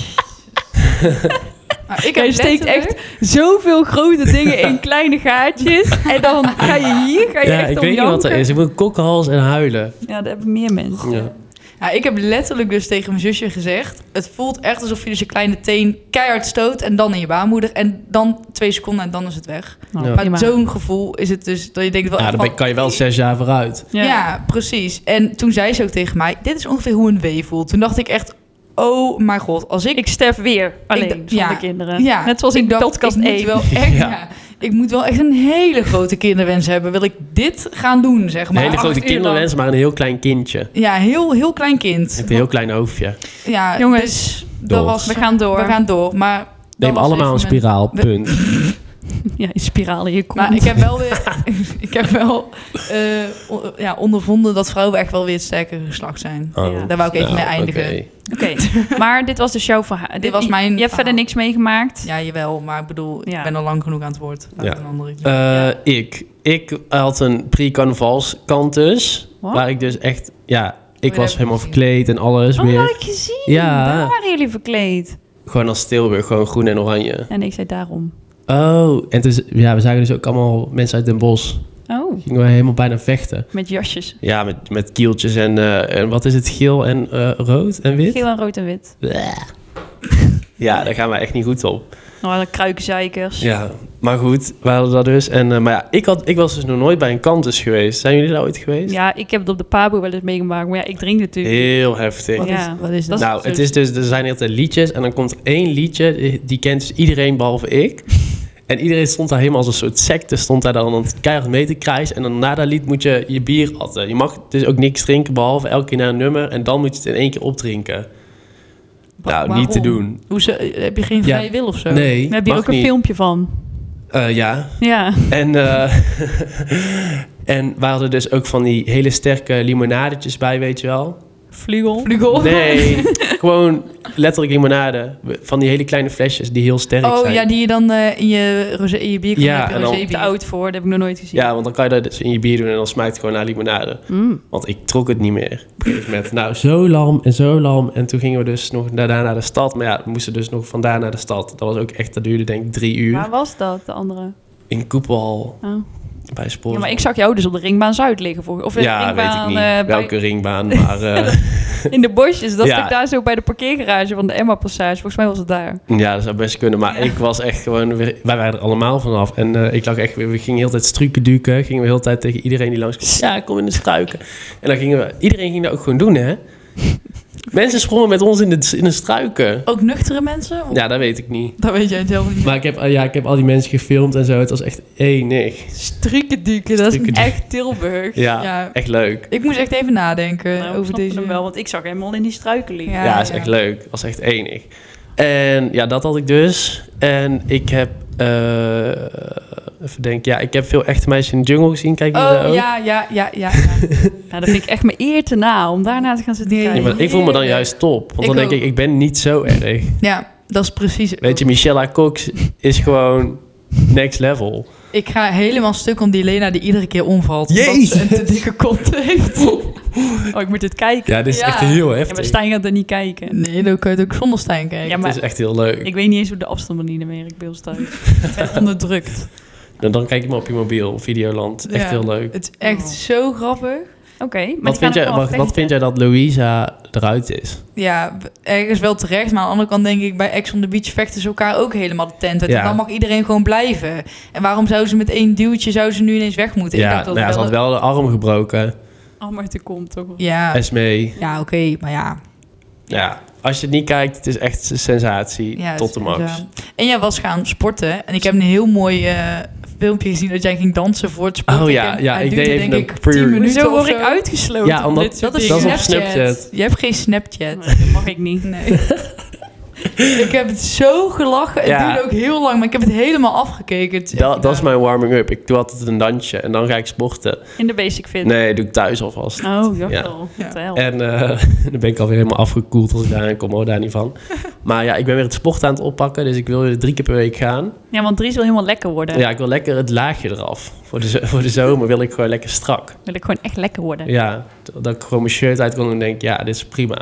[SPEAKER 2] maar ik
[SPEAKER 1] Jij
[SPEAKER 2] heb
[SPEAKER 1] steekt
[SPEAKER 2] letterlijk-
[SPEAKER 1] echt zoveel grote dingen in kleine gaatjes. En dan ga je hier, ga je
[SPEAKER 3] Ja,
[SPEAKER 1] echt
[SPEAKER 3] ik
[SPEAKER 1] om
[SPEAKER 3] weet niet wat er
[SPEAKER 1] janken.
[SPEAKER 3] is. Ik moet kokkenhals en huilen.
[SPEAKER 1] Ja, dat hebben meer mensen.
[SPEAKER 3] Ja.
[SPEAKER 2] Ja, ik heb letterlijk dus tegen mijn zusje gezegd... het voelt echt alsof je dus je kleine teen keihard stoot... en dan in je baarmoeder en dan twee seconden en dan is het weg.
[SPEAKER 1] Nou,
[SPEAKER 3] Ja.
[SPEAKER 1] prima.
[SPEAKER 2] Maar zo'n gevoel is het dus dat je denkt... Wel
[SPEAKER 3] Ja,
[SPEAKER 2] echt
[SPEAKER 3] dan
[SPEAKER 2] van-
[SPEAKER 3] ben- kan je wel zes jaar vooruit.
[SPEAKER 1] Ja.
[SPEAKER 2] Ja. precies. En toen zei ze ook tegen mij... dit is ongeveer hoe een wee voelt. Toen dacht ik echt... oh mijn god, als ik
[SPEAKER 1] Ik sterf weer alleen
[SPEAKER 2] d-
[SPEAKER 1] zonder
[SPEAKER 2] ja.
[SPEAKER 1] kinderen. Net zoals in
[SPEAKER 2] ik dacht,
[SPEAKER 1] podcast
[SPEAKER 2] ik
[SPEAKER 1] 1.
[SPEAKER 2] moet wel echt,
[SPEAKER 3] Ja.
[SPEAKER 2] ja. Ik moet wel echt een hele grote kinderwens hebben. Wil ik dit gaan doen, zeg
[SPEAKER 3] Een
[SPEAKER 2] maar.
[SPEAKER 3] hele
[SPEAKER 2] Acht
[SPEAKER 3] grote
[SPEAKER 2] uur lang.
[SPEAKER 3] kinderwens, maar een heel klein kindje.
[SPEAKER 2] Ja, heel, heel klein kind.
[SPEAKER 3] Met een heel klein hoofdje.
[SPEAKER 2] Ja,
[SPEAKER 1] Jongens,
[SPEAKER 2] dus
[SPEAKER 3] door.
[SPEAKER 2] dat was,
[SPEAKER 1] We gaan door.
[SPEAKER 2] we gaan door. Maar dat
[SPEAKER 3] Neem
[SPEAKER 2] was
[SPEAKER 3] allemaal een
[SPEAKER 2] even mijn-
[SPEAKER 3] spiraal,
[SPEAKER 2] we-
[SPEAKER 3] punt.
[SPEAKER 1] Ja, in spiraal in je kont.
[SPEAKER 2] Maar ik heb wel weer, ik heb wel eh, o- ja, ondervonden dat vrouwen echt wel weer het sterkere geslacht zijn.
[SPEAKER 1] Ja.
[SPEAKER 2] Daar wou ik even mee eindigen.
[SPEAKER 3] Oh, oké.
[SPEAKER 1] Oké, maar dit was dus jouw verhaal. Dit,
[SPEAKER 2] was mijn
[SPEAKER 1] Je hebt
[SPEAKER 2] verhaal.
[SPEAKER 1] verder niks meegemaakt.
[SPEAKER 2] Ja, jawel, maar ik bedoel,
[SPEAKER 1] Ja.
[SPEAKER 2] ik ben al lang genoeg aan het woord. Laat
[SPEAKER 3] Ja.
[SPEAKER 2] een andere keer.
[SPEAKER 3] Eh, Ik. Ik had een pre-carnavalskant dus.
[SPEAKER 1] Wat?
[SPEAKER 3] Waar ik dus echt... Ja,
[SPEAKER 2] dat
[SPEAKER 3] ik
[SPEAKER 2] heb
[SPEAKER 3] was
[SPEAKER 2] ik
[SPEAKER 3] helemaal
[SPEAKER 2] gezien.
[SPEAKER 3] verkleed en alles
[SPEAKER 1] Oh, dat had
[SPEAKER 3] meer.
[SPEAKER 1] ik gezien.
[SPEAKER 3] Ja.
[SPEAKER 1] Daar waren jullie verkleed.
[SPEAKER 3] Gewoon als Tilburg, gewoon groen en oranje.
[SPEAKER 1] En ik zei daarom.
[SPEAKER 3] Oh, en dus, ja, we zagen dus ook allemaal mensen uit Den Bosch.
[SPEAKER 1] Oh,
[SPEAKER 3] Gingen we helemaal bijna vechten.
[SPEAKER 1] met jasjes.
[SPEAKER 3] Ja, met, met kieltjes en, eh, en wat is het, geel en eh, rood en wit?
[SPEAKER 1] Geel en rood en wit.
[SPEAKER 3] Bleh. Ja, daar gaan wij echt niet goed op.
[SPEAKER 1] Nou, dan kruikenzeikers.
[SPEAKER 3] Ja, maar goed, we hadden dat dus. En, eh, maar ja, ik, had, ik was dus nog nooit bij een kantus geweest. Zijn jullie daar ooit geweest?
[SPEAKER 1] Ja, ik heb het op de Pabo wel eens meegemaakt. Maar ja, ik drink natuurlijk.
[SPEAKER 3] Heel heftig.
[SPEAKER 1] Wat Ja.
[SPEAKER 2] is, wat is
[SPEAKER 1] Dat
[SPEAKER 2] dat?
[SPEAKER 1] is-
[SPEAKER 3] nou, het is dus, er zijn heel veel liedjes en dan komt er één liedje, die- die kent dus iedereen behalve ik. En iedereen stond daar helemaal als een soort secte, stond daar dan aan het keihard mee te krijsen. En dan na dat lied moet je je bier atten. Je mag dus ook niks drinken behalve elke keer naar een nummer en dan moet je het in één keer opdrinken.
[SPEAKER 2] Wa-
[SPEAKER 3] nou, niet te
[SPEAKER 2] waarom?
[SPEAKER 3] doen.
[SPEAKER 2] Hoezo, heb je geen
[SPEAKER 3] Ja.
[SPEAKER 2] vrije wil of zo?
[SPEAKER 3] Nee,
[SPEAKER 1] We hebben hier
[SPEAKER 3] mag
[SPEAKER 1] ook een
[SPEAKER 3] niet.
[SPEAKER 1] filmpje van.
[SPEAKER 3] Eh, ja,
[SPEAKER 1] Ja.
[SPEAKER 3] en, eh, en we hadden dus ook van die hele sterke limonadetjes bij, weet je wel.
[SPEAKER 1] Vlugel.
[SPEAKER 2] Vlugel?
[SPEAKER 3] Nee, gewoon letterlijk limonade. Van die hele kleine flesjes die heel sterk
[SPEAKER 2] Oh
[SPEAKER 3] zijn.
[SPEAKER 2] ja, die je dan eh, in je, rosé, in je bier kan
[SPEAKER 3] Ja,
[SPEAKER 2] maken,
[SPEAKER 1] Daar
[SPEAKER 3] en dan-
[SPEAKER 1] ben
[SPEAKER 2] rosé
[SPEAKER 1] ik te
[SPEAKER 2] bier.
[SPEAKER 1] oud voor. Dat heb ik nog nooit gezien.
[SPEAKER 3] Ja, want dan kan je dat dus in je bier doen en dan smaakt het gewoon naar limonade.
[SPEAKER 1] Mm.
[SPEAKER 3] Want ik trok het niet meer. Op een gegeven moment. Nou, zo lam en zo lam. En toen gingen we dus nog daarna naar de stad. Maar ja, we moesten dus nog vandaar naar de stad. Dat was ook echt, dat duurde denk ik drie uur.
[SPEAKER 1] Waar was dat, de andere?
[SPEAKER 3] In Koepel,
[SPEAKER 1] Oh.
[SPEAKER 3] bij Spoor.
[SPEAKER 1] Ja, maar ik zag jou dus op de ringbaan Zuid liggen. Voor, of de
[SPEAKER 3] Ja, weet ik
[SPEAKER 1] ringbaan
[SPEAKER 3] niet.
[SPEAKER 1] eh, bij-
[SPEAKER 3] Welke ringbaan, maar... eh,
[SPEAKER 1] in de bosjes. Dat
[SPEAKER 3] Ja.
[SPEAKER 1] stuk daar zo bij de parkeergarage van de Emma Passage. Volgens mij was het daar.
[SPEAKER 3] Ja, dat zou best kunnen. Maar ik was echt gewoon... Weer, wij waren er allemaal vanaf. En eh, ik lag echt... weer- We gingen heel de tijd struiken duiken. Gingen we heel de tijd tegen iedereen die langs kwam. Ja, kom in de struiken. En dan gingen we... Iedereen ging dat ook gewoon doen, hè? Mensen sprongen met ons in de, in de struiken.
[SPEAKER 2] Ook nuchtere mensen?
[SPEAKER 3] Ja, dat weet ik niet.
[SPEAKER 2] Dat weet jij het helemaal niet.
[SPEAKER 3] Maar ik heb, eh, ja, ik heb al die mensen gefilmd en zo. Het was echt enig.
[SPEAKER 2] Striekenduken, dat is
[SPEAKER 3] Striekenduken.
[SPEAKER 2] echt Tilburg.
[SPEAKER 3] Ja, echt leuk.
[SPEAKER 2] Ik moest echt even nadenken
[SPEAKER 1] Nou, ik
[SPEAKER 2] over
[SPEAKER 1] snap
[SPEAKER 2] deze.
[SPEAKER 1] hem wel, want ik zag helemaal in die struiken liggen.
[SPEAKER 3] Ja,
[SPEAKER 2] Ja,
[SPEAKER 3] is
[SPEAKER 2] ja.
[SPEAKER 3] echt leuk. Was echt enig. En ja, dat had ik dus. En ik heb, eh, even denken, ja, ik heb veel echte meisjes in de jungle gezien. Kijk je daar
[SPEAKER 2] Oh
[SPEAKER 3] ook?
[SPEAKER 2] ja, ja, ja, ja.
[SPEAKER 1] Nou, dat vind ik echt mijn eer te na om daarna te gaan zitten
[SPEAKER 2] Nee.
[SPEAKER 3] Ja,
[SPEAKER 1] kijken.
[SPEAKER 3] maar ik voel me dan
[SPEAKER 2] Heerlijk.
[SPEAKER 3] juist top. Want
[SPEAKER 2] Ik
[SPEAKER 3] dan denk
[SPEAKER 2] ook.
[SPEAKER 3] ik, ik ben niet zo erg.
[SPEAKER 2] ja, dat is precies.
[SPEAKER 3] Weet je, Michelle Cox is gewoon next level.
[SPEAKER 2] Ik ga helemaal stuk om die Lena die iedere keer omvalt.
[SPEAKER 3] Jezus.
[SPEAKER 2] Omdat ze een te dikke kont heeft.
[SPEAKER 1] Oh, ik moet dit kijken.
[SPEAKER 3] Ja, dit is
[SPEAKER 2] Ja.
[SPEAKER 3] echt heel
[SPEAKER 1] Ja,
[SPEAKER 3] heftig.
[SPEAKER 1] maar Stijn gaat er niet kijken.
[SPEAKER 2] Nee, dan kan je het ook zonder Stijn kijken.
[SPEAKER 1] Ja,
[SPEAKER 3] Het is
[SPEAKER 1] maar
[SPEAKER 3] echt heel leuk.
[SPEAKER 1] ik weet niet eens hoe de afstand niet meer ik bij ons thuis. Ik ben onderdrukt.
[SPEAKER 3] Dan, dan kijk je maar op je mobiel, Videoland. Echt
[SPEAKER 2] Ja.
[SPEAKER 3] heel leuk.
[SPEAKER 2] Het is echt
[SPEAKER 1] Oh.
[SPEAKER 2] zo grappig.
[SPEAKER 1] Oké, maar
[SPEAKER 3] Wat vind, jij, wat, wat vind jij dat Louisa eruit is?
[SPEAKER 2] Ja, ergens wel terecht. Maar aan de andere kant denk ik, bij Ex on the Beach vechten ze elkaar ook helemaal de tent uit.
[SPEAKER 3] Ja.
[SPEAKER 2] En dan mag iedereen gewoon blijven. En waarom zou ze met één duwtje, zou ze nu ineens weg moeten? Ik
[SPEAKER 3] Ja,
[SPEAKER 2] dacht dat
[SPEAKER 3] nou ja,
[SPEAKER 2] het
[SPEAKER 3] ze had
[SPEAKER 2] wel-
[SPEAKER 3] wel de arm gebroken.
[SPEAKER 1] Almert komt toch?
[SPEAKER 2] Ja,
[SPEAKER 3] Esmee.
[SPEAKER 2] ja oké, maar ja.
[SPEAKER 3] Ja, als je het niet kijkt, het is echt een sensatie
[SPEAKER 2] Ja,
[SPEAKER 3] tot de
[SPEAKER 2] dus,
[SPEAKER 3] max.
[SPEAKER 2] ja. En jij was gaan sporten. En ik heb een heel mooi eh, filmpje gezien dat jij ging dansen voor het sporten.
[SPEAKER 3] Oh ja,
[SPEAKER 2] En
[SPEAKER 3] ja,
[SPEAKER 2] hij
[SPEAKER 3] ik
[SPEAKER 2] duurde
[SPEAKER 3] deed
[SPEAKER 2] denk
[SPEAKER 3] even
[SPEAKER 2] ik 10
[SPEAKER 3] een pre-
[SPEAKER 2] minuten
[SPEAKER 1] Hoezo
[SPEAKER 2] of
[SPEAKER 1] word ik
[SPEAKER 2] zo.
[SPEAKER 1] uitgesloten?
[SPEAKER 3] Ja, omdat-
[SPEAKER 1] Dit soort
[SPEAKER 2] Dat is,
[SPEAKER 3] Dat
[SPEAKER 1] dingen.
[SPEAKER 3] is op Snapchat.
[SPEAKER 2] Je hebt geen Snapchat.
[SPEAKER 1] Nee, dat mag ik niet.
[SPEAKER 2] Nee. ik heb het zo gelachen. Het
[SPEAKER 3] Ja.
[SPEAKER 2] duurde ook heel lang, maar ik heb het helemaal afgekeken. Het echt eh,
[SPEAKER 3] Dat, dat is
[SPEAKER 2] waar.
[SPEAKER 3] mijn warming-up. Ik doe altijd een dansje en dan ga ik sporten.
[SPEAKER 1] In de basic fit.
[SPEAKER 3] Nee, doe ik thuis alvast.
[SPEAKER 1] Oh, dat
[SPEAKER 3] Ja.
[SPEAKER 1] wel. Wat
[SPEAKER 2] Ja.
[SPEAKER 1] de hel.
[SPEAKER 3] En eh, dan ben ik alweer helemaal afgekoeld als ik daarin kom. Hoor daar niet van. Maar ja, ik ben weer het sport aan het oppakken. Dus ik wil weer drie keer per week gaan.
[SPEAKER 1] Ja, want Dries wil helemaal lekker worden.
[SPEAKER 3] Ja, ik wil lekker het laagje eraf. Voor de, zo- voor de zomer wil ik gewoon lekker strak.
[SPEAKER 1] Wil ik gewoon echt lekker worden.
[SPEAKER 3] Ja, dat ik gewoon mijn shirt uit kon en denk, ja, dit is prima.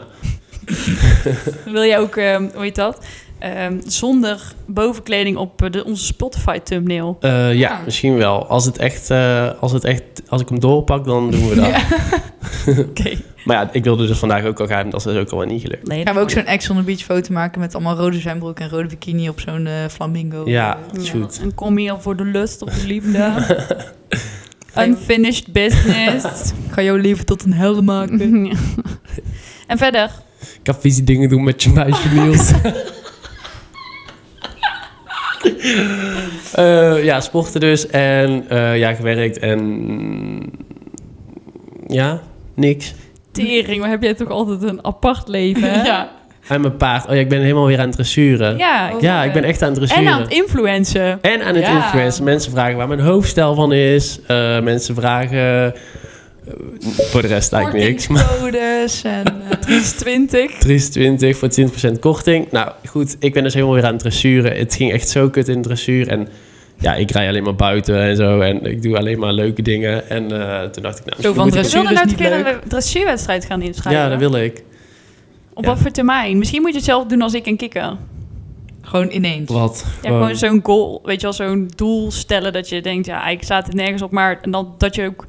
[SPEAKER 1] Wil jij ook, ehm, hoe heet dat? Ehm, zonder bovenkleding op eh, de, onze Spotify thumbnail.
[SPEAKER 3] Eh, ja,
[SPEAKER 2] Ah.
[SPEAKER 3] misschien wel. Als, het echt, eh, als, het echt, als ik hem doorpak, dan doen we dat.
[SPEAKER 1] Oké.
[SPEAKER 3] Maar ja, ik wilde dus vandaag ook al gaan. en Dat is dus ook al niet gelukt.
[SPEAKER 1] Nee,
[SPEAKER 2] Gaan we ook
[SPEAKER 1] dat-
[SPEAKER 2] zo'n Ex on the Beach foto maken met allemaal rode zwembroek en rode bikini op zo'n eh, flamingo?
[SPEAKER 3] Oh, Ja,
[SPEAKER 2] Eh,
[SPEAKER 3] dat is
[SPEAKER 1] Ja,
[SPEAKER 3] goed.
[SPEAKER 1] En kom hier voor de lust of de liefde. Unfinished business.
[SPEAKER 2] Ik ga jouw leven tot een helden maken.
[SPEAKER 1] Ja. en verder.
[SPEAKER 3] Ik kan vieze dingen doen met je meisje, Niels. Eh, ja, sporten dus. En eh, ja, gewerkt. En ja, niks.
[SPEAKER 1] Tering, maar heb jij toch altijd een apart leven? hè?
[SPEAKER 2] ja.
[SPEAKER 3] En mijn paard. Oh ja, ik ben helemaal weer aan het dressuren. Ja,
[SPEAKER 1] Ja. eh,
[SPEAKER 2] Oh.
[SPEAKER 3] ik ben echt aan het dressuren.
[SPEAKER 1] En aan het influencen.
[SPEAKER 3] En aan het
[SPEAKER 2] Ja.
[SPEAKER 3] influencen. Mensen vragen waar mijn hoofdstijl van is. Eh, mensen vragen... eh, voor de rest eigenlijk niks. Maar
[SPEAKER 2] Kortingscodes en... eh,
[SPEAKER 1] 20.
[SPEAKER 3] 320 voor 20% korting. Nou goed, ik ben dus helemaal weer aan het dressuren. Het ging echt zo kut in de dressuur. En ja, ik rij alleen maar buiten en zo. En ik doe alleen maar leuke dingen. En eh, toen dacht ik... Nou,
[SPEAKER 2] Zo van
[SPEAKER 3] misschien
[SPEAKER 1] We
[SPEAKER 3] moet
[SPEAKER 2] dressuur
[SPEAKER 1] wilden
[SPEAKER 2] is
[SPEAKER 1] nou een
[SPEAKER 2] niet
[SPEAKER 1] keer
[SPEAKER 2] leuk.
[SPEAKER 1] een dressuurwedstrijd gaan
[SPEAKER 3] ik-
[SPEAKER 1] inschrijven.
[SPEAKER 3] Ja, dat wil ik.
[SPEAKER 1] Op
[SPEAKER 3] ja.
[SPEAKER 1] wat voor termijn? Misschien moet je het zelf doen als ik en Kikker.
[SPEAKER 2] gewoon ineens.
[SPEAKER 3] Wat?
[SPEAKER 1] Ja, gewoon zo'n goal, weet je wel, zo'n doel stellen dat je denkt, ja, ik staat het nergens op, maar en dan, dat je ook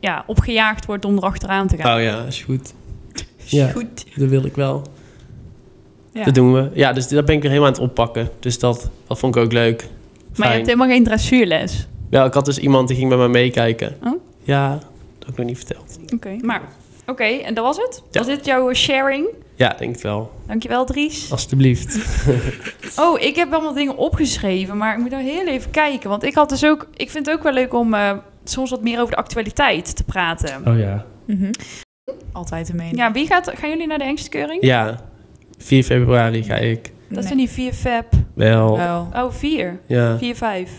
[SPEAKER 1] ja, opgejaagd wordt om erachteraan te gaan.
[SPEAKER 3] Oh ja, is goed. Ja,
[SPEAKER 2] Goed.
[SPEAKER 3] dat wil ik wel.
[SPEAKER 1] Ja.
[SPEAKER 3] Dat doen we. Ja, dus dat ben ik weer helemaal aan het oppakken. Dus dat, dat vond ik ook leuk.
[SPEAKER 1] maar je
[SPEAKER 3] Fijn.
[SPEAKER 1] hebt helemaal geen dressuurles.
[SPEAKER 3] Wel, ik had dus iemand die ging met mij meekijken.
[SPEAKER 1] Oh?
[SPEAKER 3] Ja, dat heb ik nog niet verteld.
[SPEAKER 1] Oké. Maar, oké, en dat was het?
[SPEAKER 3] Ja.
[SPEAKER 1] Was dit jouw sharing?
[SPEAKER 3] Ja, denk het wel.
[SPEAKER 1] Dankjewel, Dries.
[SPEAKER 3] Alsjeblieft.
[SPEAKER 1] Oh, ik heb allemaal dingen opgeschreven, maar ik moet nou heel even kijken. Want ik had dus ook, ik vind het ook wel leuk om eh, soms wat meer over de actualiteit te praten.
[SPEAKER 3] Oh ja.
[SPEAKER 2] Mhm. Altijd een mening.
[SPEAKER 1] Ja, wie gaat, gaan jullie naar de hengstkeuring?
[SPEAKER 3] Ja, 4 februari ga ik.
[SPEAKER 1] Dat
[SPEAKER 2] Nee.
[SPEAKER 1] zijn die 4 feb.
[SPEAKER 3] Wel,
[SPEAKER 2] Wel.
[SPEAKER 1] Oh, 4.
[SPEAKER 3] ja.
[SPEAKER 1] 4, 5.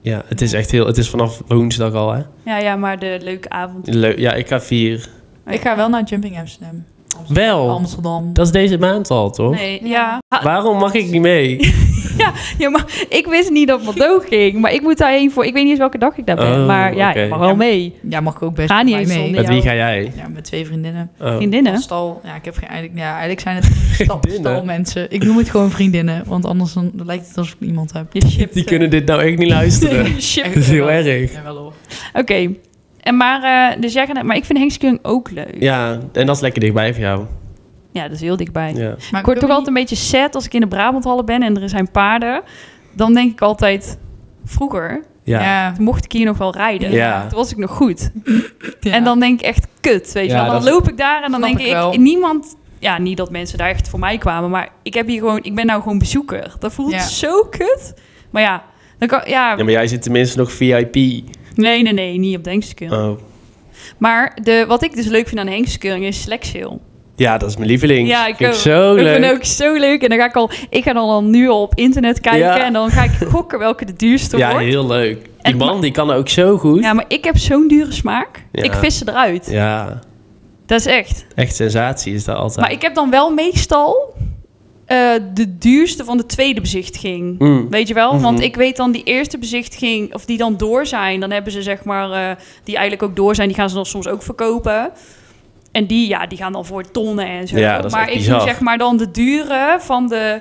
[SPEAKER 3] Ja, het is echt heel... Het is vanaf woensdag al, hè?
[SPEAKER 1] Ja, ja, maar de leuke avond.
[SPEAKER 3] Leuk. Ja, ik ga vier.
[SPEAKER 2] Ik ga wel naar Jumping Amsterdam.
[SPEAKER 3] Wel,
[SPEAKER 2] Amsterdam.
[SPEAKER 3] dat is deze maand al, toch?
[SPEAKER 1] Nee, ja. Ha-
[SPEAKER 3] Waarom mag ik niet mee?
[SPEAKER 1] ja, maar ik wist niet dat Bordeaux ging. Maar ik moet daarheen voor... Ik weet niet eens welke dag ik daar ben.
[SPEAKER 3] Oh,
[SPEAKER 1] maar ja,
[SPEAKER 3] oké.
[SPEAKER 1] ik mag wel mee.
[SPEAKER 2] Ja, mag ik ook best
[SPEAKER 1] Ga
[SPEAKER 2] met
[SPEAKER 1] niet
[SPEAKER 2] mij
[SPEAKER 1] eens
[SPEAKER 2] mee.
[SPEAKER 1] zonder
[SPEAKER 3] Met
[SPEAKER 1] jou.
[SPEAKER 3] wie ga jij?
[SPEAKER 2] Ja, met twee vriendinnen.
[SPEAKER 3] Oh.
[SPEAKER 1] Vriendinnen?
[SPEAKER 2] Stal. Ja, ik heb geen, eigenlijk, ja, eigenlijk zijn het stal,
[SPEAKER 3] Vriendinnen?
[SPEAKER 2] stalmensen. Ik noem het gewoon vriendinnen, want anders dan, dan lijkt het alsof ik iemand heb.
[SPEAKER 1] Je shipt.
[SPEAKER 3] Die kunnen dit nou echt niet luisteren.
[SPEAKER 1] Je shipt.
[SPEAKER 3] Dat is heel erg.
[SPEAKER 2] Ja, wel hoor.
[SPEAKER 1] Oké. En maar, eh, dus jij gaat naar- maar ik vind Hengskeuring ook leuk. Ja.
[SPEAKER 3] Ja, en dat is lekker dichtbij voor jou.
[SPEAKER 1] dat is heel dichtbij.
[SPEAKER 3] Ja.
[SPEAKER 2] Maar
[SPEAKER 1] Ik word
[SPEAKER 2] wil
[SPEAKER 1] toch altijd een beetje sad als ik in de Brabanthallen ben en er zijn paarden. Dan denk ik altijd, vroeger
[SPEAKER 2] niet-
[SPEAKER 3] Ja.
[SPEAKER 2] Ja.
[SPEAKER 1] mocht ik hier nog wel rijden.
[SPEAKER 3] Ja.
[SPEAKER 1] Toen was ik nog goed.
[SPEAKER 2] ja.
[SPEAKER 1] En dan denk ik echt, kut, weet je
[SPEAKER 3] Ja,
[SPEAKER 1] wel. Dan
[SPEAKER 3] dat-
[SPEAKER 1] loop ik daar en dan
[SPEAKER 2] Snap
[SPEAKER 1] denk
[SPEAKER 2] ik
[SPEAKER 1] ik,
[SPEAKER 2] wel.
[SPEAKER 1] niemand ja, niet dat mensen daar echt voor mij kwamen. Maar ik, heb hier gewoon, ik ben nou gewoon bezoeker. Dat voelt
[SPEAKER 2] Ja.
[SPEAKER 1] zo kut. Maar ja, dan kan, ja,
[SPEAKER 3] Ja, maar jij zit tenminste nog VIP.
[SPEAKER 1] nee, nee, nee, niet op de Hengstekeuring.
[SPEAKER 3] Oh.
[SPEAKER 1] Maar de, wat ik dus leuk vind aan de Hengstekeuring is Slexsale.
[SPEAKER 3] Ja, dat is mijn lieveling.
[SPEAKER 1] Ja, ik
[SPEAKER 3] Vind
[SPEAKER 1] ook.
[SPEAKER 3] zo
[SPEAKER 1] ik
[SPEAKER 3] leuk.
[SPEAKER 1] vind het ook zo leuk. En dan ga ik al, ik ga dan al nu al op internet kijken.
[SPEAKER 3] Ja.
[SPEAKER 1] En dan ga ik gokken welke de duurste
[SPEAKER 3] ja,
[SPEAKER 1] wordt.
[SPEAKER 3] heel leuk. Die
[SPEAKER 1] En-
[SPEAKER 3] man die kan ook zo goed.
[SPEAKER 1] Ja, maar ik heb zo'n dure smaak.
[SPEAKER 3] Ja.
[SPEAKER 1] Ik vis ze eruit.
[SPEAKER 3] Ja,
[SPEAKER 1] Dat is echt.
[SPEAKER 3] echt sensatie is dat eh, altijd.
[SPEAKER 1] Maar ik heb dan wel meestal eh, de duurste van de tweede bezichtiging.
[SPEAKER 3] Mm.
[SPEAKER 1] Weet je wel?
[SPEAKER 3] Mhm.
[SPEAKER 1] Want ik weet dan die eerste bezichtiging, of die dan door zijn, dan hebben ze zeg maar, eh, die eigenlijk ook door zijn, die gaan ze dan soms ook verkopen. En die, ja, die gaan dan voor tonnen en zo.
[SPEAKER 3] Ja, dat is
[SPEAKER 1] maar
[SPEAKER 3] echt
[SPEAKER 1] ik
[SPEAKER 3] bizar.
[SPEAKER 1] doe zeg maar dan de dure van, de,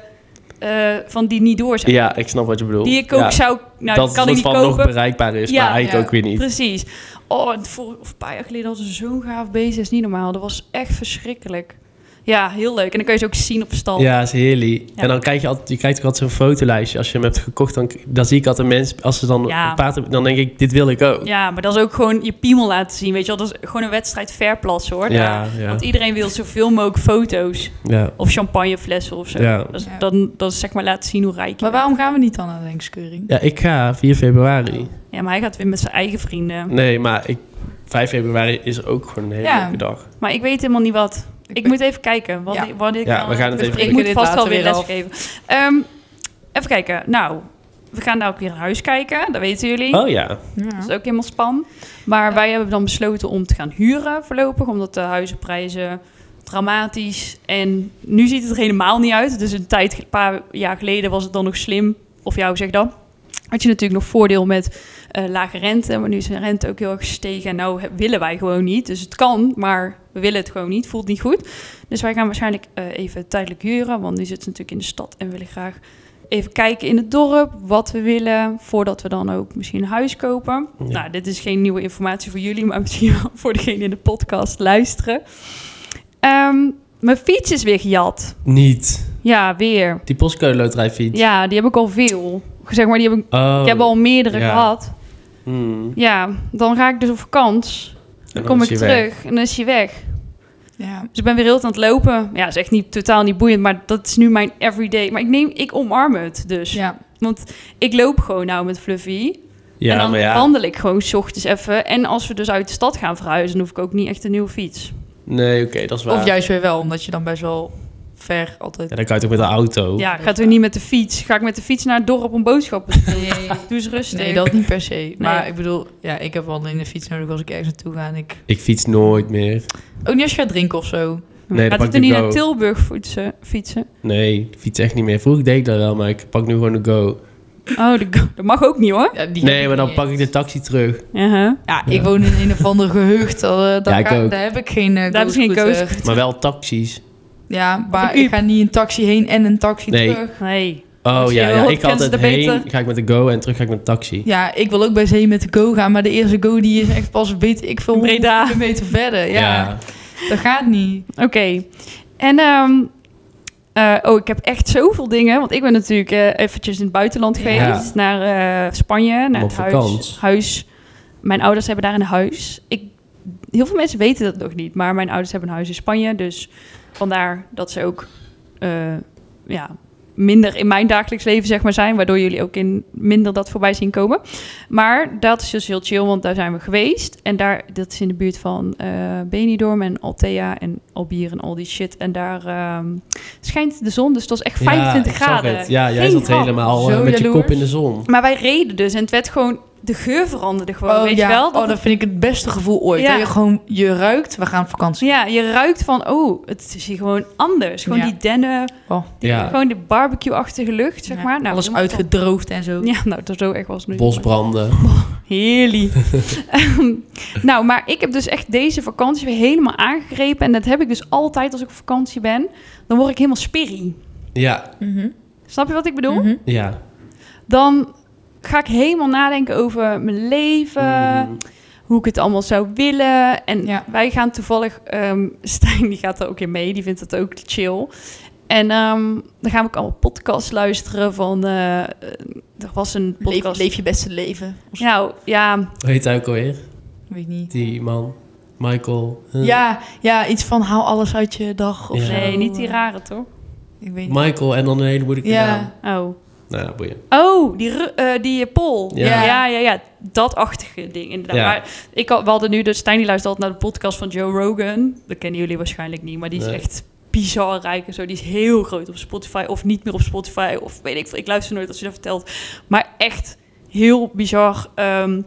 [SPEAKER 1] eh, van die niet door zijn.
[SPEAKER 3] Ja, ik snap wat je bedoelt.
[SPEAKER 1] Die ik ook
[SPEAKER 3] Ja,
[SPEAKER 1] zou, nou,
[SPEAKER 3] dat
[SPEAKER 1] die kan ik niet
[SPEAKER 3] van
[SPEAKER 1] kopen.
[SPEAKER 3] nog bereikbaar is,
[SPEAKER 1] Ja,
[SPEAKER 3] maar eigenlijk
[SPEAKER 2] ja.
[SPEAKER 3] ook weer niet.
[SPEAKER 1] Precies. Oh, en voor, of een paar jaar geleden hadden ze zo'n gaaf beest. Dat is niet normaal. Dat was echt verschrikkelijk. Ja, heel leuk. En dan kun je ze ook zien op stal.
[SPEAKER 3] Ja, is heerlijk.
[SPEAKER 1] Oh. Ja.
[SPEAKER 3] En dan kijk je altijd, je kijkt ook altijd zo'n fotolijstje. Als je hem hebt gekocht, dan, dan zie ik altijd mensen, als ze dan
[SPEAKER 1] Ja.
[SPEAKER 3] een paard hebben, dan denk ik, dit wil ik ook.
[SPEAKER 1] Ja, maar dat is ook gewoon je piemel laten zien. Weet je wel, dat is gewoon een wedstrijd verplassen hoor.
[SPEAKER 3] ja, ja.
[SPEAKER 1] Want iedereen wil zoveel mogelijk foto's.
[SPEAKER 3] ja.
[SPEAKER 1] Of champagneflessen of zo.
[SPEAKER 3] Ja.
[SPEAKER 1] Dat, is,
[SPEAKER 2] Ja.
[SPEAKER 1] dan, dat is zeg maar laten zien hoe rijk je
[SPEAKER 2] Maar
[SPEAKER 1] bent.
[SPEAKER 2] waarom gaan we niet dan naar de hengstkeuring?
[SPEAKER 3] Ja, ik ga 4 februari.
[SPEAKER 1] Ja, maar hij gaat weer met zijn eigen vrienden.
[SPEAKER 3] Nee, maar ik, 5 februari is ook gewoon een hele
[SPEAKER 2] Ja.
[SPEAKER 3] leuke dag.
[SPEAKER 1] Maar ik weet helemaal niet wat. Ik,
[SPEAKER 2] ben-
[SPEAKER 1] moet even kijken. Wat
[SPEAKER 2] Ja.
[SPEAKER 1] ik, wat ik
[SPEAKER 3] Ja,
[SPEAKER 1] dan-
[SPEAKER 3] we gaan het even
[SPEAKER 1] Ik
[SPEAKER 2] kijken.
[SPEAKER 1] moet
[SPEAKER 2] Dit
[SPEAKER 1] vast
[SPEAKER 2] later
[SPEAKER 1] wel weer
[SPEAKER 2] weer
[SPEAKER 1] les
[SPEAKER 2] af.
[SPEAKER 1] geven. Ehm, even kijken. Nou, we gaan nou ook weer naar huis kijken. Dat weten jullie.
[SPEAKER 3] Oh ja.
[SPEAKER 1] Dat is ook helemaal span. Maar wij hebben dan besloten om te gaan huren voorlopig. Omdat de huizenprijzen dramatisch. En nu ziet het er helemaal niet uit. Dus een tijd, een paar jaar geleden was het dan nog slim. Of jou zeg dan. Had je natuurlijk nog voordeel met eh, lage rente. Maar nu is de rente ook heel erg gestegen. En nou he- willen wij gewoon niet. Dus het kan, maar we willen het gewoon niet. Voelt niet goed. Dus wij gaan waarschijnlijk eh, even tijdelijk huren. Want nu zitten ze natuurlijk in de stad en willen graag even kijken in het dorp wat we willen. Voordat we dan ook misschien een huis kopen.
[SPEAKER 3] Ja.
[SPEAKER 1] Nou, dit is geen nieuwe informatie voor jullie. Maar misschien wel voor degene in de podcast luisteren. Ehm, mijn fiets is weer gejat.
[SPEAKER 3] Niet.
[SPEAKER 1] Ja, weer.
[SPEAKER 3] Die postcode loterijfiets.
[SPEAKER 1] Ja, die heb ik al veel. Zeg maar, die heb ik,
[SPEAKER 3] Oh.
[SPEAKER 1] ik heb al meerdere
[SPEAKER 3] ja.
[SPEAKER 1] gehad.
[SPEAKER 3] Hmm.
[SPEAKER 1] Ja, dan ga ik dus op vakantie.
[SPEAKER 3] En
[SPEAKER 1] Dan kom
[SPEAKER 3] is
[SPEAKER 1] ik
[SPEAKER 3] hij
[SPEAKER 1] terug
[SPEAKER 3] weg.
[SPEAKER 1] en dan is hij weg.
[SPEAKER 2] Ja.
[SPEAKER 1] Dus ik ben weer heel de tijd aan het lopen. Ja, is echt niet, totaal niet boeiend, maar dat is nu mijn everyday. Maar ik neem, ik omarm het dus.
[SPEAKER 2] ja.
[SPEAKER 1] Want ik loop gewoon nou met Fluffy.
[SPEAKER 3] Ja,
[SPEAKER 1] en dan
[SPEAKER 3] maar ja.
[SPEAKER 1] wandel ik gewoon 's ochtends even. En als we dus uit de stad gaan verhuizen, dan hoef ik ook niet echt een nieuwe fiets.
[SPEAKER 3] Nee, oké, dat is waar.
[SPEAKER 2] Of juist weer wel, omdat je dan best wel ver altijd...
[SPEAKER 3] Ja, dan kan je toch met de auto.
[SPEAKER 1] Ja, gaat u niet met de fiets? Ga ik met de fiets naar het dorp om boodschappen te doen?
[SPEAKER 2] Nee,
[SPEAKER 1] Doe eens rustig.
[SPEAKER 2] nee, dat niet per se. Maar ik bedoel, ja, ik heb wel alleen de fiets nodig als ik ergens naartoe ga. En ik...
[SPEAKER 3] Ik fiets nooit meer.
[SPEAKER 2] Ook niet als je gaat drinken of zo.
[SPEAKER 1] gaat u
[SPEAKER 3] Nee, dat pak
[SPEAKER 1] toch
[SPEAKER 3] ik
[SPEAKER 1] niet
[SPEAKER 3] ook.
[SPEAKER 1] naar Tilburg fietsen? fietsen?
[SPEAKER 3] Nee, ik fiets echt niet meer. Vroeger deed ik dat wel, maar ik pak nu gewoon de go.
[SPEAKER 1] Oh, dat, dat mag ook niet hoor.
[SPEAKER 2] Ja, die heb
[SPEAKER 3] Nee, maar dan
[SPEAKER 2] niet
[SPEAKER 3] pak ik
[SPEAKER 2] eens.
[SPEAKER 3] de taxi terug.
[SPEAKER 1] Uh-huh.
[SPEAKER 2] Ja,
[SPEAKER 3] Ja.
[SPEAKER 2] ik woon in een of ander gehucht. eh, daar,
[SPEAKER 3] Ja, ik
[SPEAKER 2] ga-
[SPEAKER 3] ook.
[SPEAKER 2] daar heb ik geen eh,
[SPEAKER 1] Daar heb je geen
[SPEAKER 2] go-scooter.
[SPEAKER 1] go-scooter.
[SPEAKER 3] Maar wel taxis.
[SPEAKER 2] Ja, maar
[SPEAKER 1] een
[SPEAKER 2] ik ga niet een taxi heen en een taxi
[SPEAKER 3] Nee.
[SPEAKER 2] terug.
[SPEAKER 1] Nee.
[SPEAKER 3] Oh
[SPEAKER 1] Als je
[SPEAKER 3] ja, ja,
[SPEAKER 1] wilt,
[SPEAKER 3] ik
[SPEAKER 1] kennen ze
[SPEAKER 3] altijd
[SPEAKER 1] er
[SPEAKER 3] heen,
[SPEAKER 1] beter.
[SPEAKER 3] ga ik met de go en terug ga ik met de taxi.
[SPEAKER 2] Ja, ik wil ook bij zee met de go gaan, maar de eerste go die is echt pas weet ik veel
[SPEAKER 1] Breda.
[SPEAKER 2] 100 kilometer verder. Ja, dat gaat niet.
[SPEAKER 1] Oké. En, ehm, eh, oh, ik heb echt zoveel dingen. Want ik ben natuurlijk eh, eventjes in het buitenland
[SPEAKER 2] Ja.
[SPEAKER 1] geweest. Naar eh, Spanje, naar
[SPEAKER 3] Op
[SPEAKER 1] het huis,
[SPEAKER 3] vakantie.
[SPEAKER 1] huis. Mijn ouders hebben daar een huis. Ik, heel veel mensen weten dat nog niet. Maar mijn ouders hebben een huis in Spanje. Dus vandaar dat ze ook eh, ja, minder in mijn dagelijks leven zeg maar, zijn. Waardoor jullie ook in minder dat voorbij zien komen. Maar dat is dus heel chill, want daar zijn we geweest. En daar, dat is in de buurt van eh Benidorm en Altea en Albier en al die shit. En daar ehm, schijnt de zon, dus het was echt 25
[SPEAKER 3] ik zag
[SPEAKER 1] graden.
[SPEAKER 3] het. Ja, jij
[SPEAKER 1] Geen
[SPEAKER 3] zat
[SPEAKER 1] grap.
[SPEAKER 3] helemaal
[SPEAKER 2] Zo
[SPEAKER 3] eh, met je
[SPEAKER 2] jaloers.
[SPEAKER 3] kop in de zon.
[SPEAKER 1] Maar wij reden dus en het werd gewoon... De geur veranderde gewoon, weet
[SPEAKER 2] ja.
[SPEAKER 1] je wel? Dat
[SPEAKER 2] oh, dat vind ik het beste gevoel ooit.
[SPEAKER 1] Ja.
[SPEAKER 2] Dat je gewoon, je ruikt, we gaan op vakantie.
[SPEAKER 1] Ja, je ruikt van, oh, het is hier gewoon anders. Gewoon
[SPEAKER 2] Ja.
[SPEAKER 1] die dennen,
[SPEAKER 2] Oh,
[SPEAKER 1] die-
[SPEAKER 3] Ja.
[SPEAKER 1] gewoon die barbecue-achtige lucht, zeg
[SPEAKER 2] Ja,
[SPEAKER 1] maar. Nou,
[SPEAKER 2] alles
[SPEAKER 1] helemaal
[SPEAKER 2] uitgedroogd en zo.
[SPEAKER 1] top. Ja, nou, dat zo echt was het nu.
[SPEAKER 3] Bosbranden.
[SPEAKER 1] Heerlijk. Ehm, nou, maar ik heb dus echt deze vakantie weer helemaal aangegrepen. En dat heb ik dus altijd als ik op vakantie ben. Dan word ik helemaal spirrie.
[SPEAKER 3] Ja,
[SPEAKER 2] Mhm.
[SPEAKER 1] Snap je wat ik bedoel?
[SPEAKER 2] Mhm.
[SPEAKER 3] ja.
[SPEAKER 1] Dan ga ik helemaal nadenken over mijn leven.
[SPEAKER 2] eh.
[SPEAKER 3] Mm.
[SPEAKER 1] Hoe ik het allemaal zou willen. En
[SPEAKER 2] Mhm. Ja.
[SPEAKER 1] wij gaan toevallig... ehm, Stijn die gaat er ook in mee. Die vindt het ook chill. En ehm, dan gaan we ook allemaal podcasts luisteren van... eh, eh, er was een
[SPEAKER 2] Leef,
[SPEAKER 1] podcast...
[SPEAKER 2] leef je beste leven. Of zo.
[SPEAKER 1] Nou, ja...
[SPEAKER 3] Hoe heet hij ook alweer?
[SPEAKER 2] Weet ik niet.
[SPEAKER 3] Die man. Michael. eh,
[SPEAKER 2] Ja, ja, iets van haal alles uit je dag of
[SPEAKER 3] Ja.
[SPEAKER 2] zo.
[SPEAKER 1] Nee, niet die rare, toch?
[SPEAKER 2] Ik weet niet.
[SPEAKER 3] Michael en dan een hele moeilijke
[SPEAKER 2] Ja.
[SPEAKER 3] naam.
[SPEAKER 1] Oh.
[SPEAKER 3] Nou ja, boeien.
[SPEAKER 1] Oh, die, ru- eh, die eh, Pol.
[SPEAKER 3] Ja.
[SPEAKER 1] Ja. ja, ja, Dat-achtige ding, inderdaad.
[SPEAKER 3] Ja.
[SPEAKER 1] Maar ik had, we hadden nu... Dus Stijn die luistert altijd naar de podcast van Joe Rogan. Dat kennen jullie waarschijnlijk niet. Maar die is
[SPEAKER 3] Nee.
[SPEAKER 1] echt bizar rijk en zo. Die is heel groot op Spotify. Of niet meer op Spotify. Of weet ik veel. Ik luister nooit als je dat vertelt. Maar echt heel bizar ehm,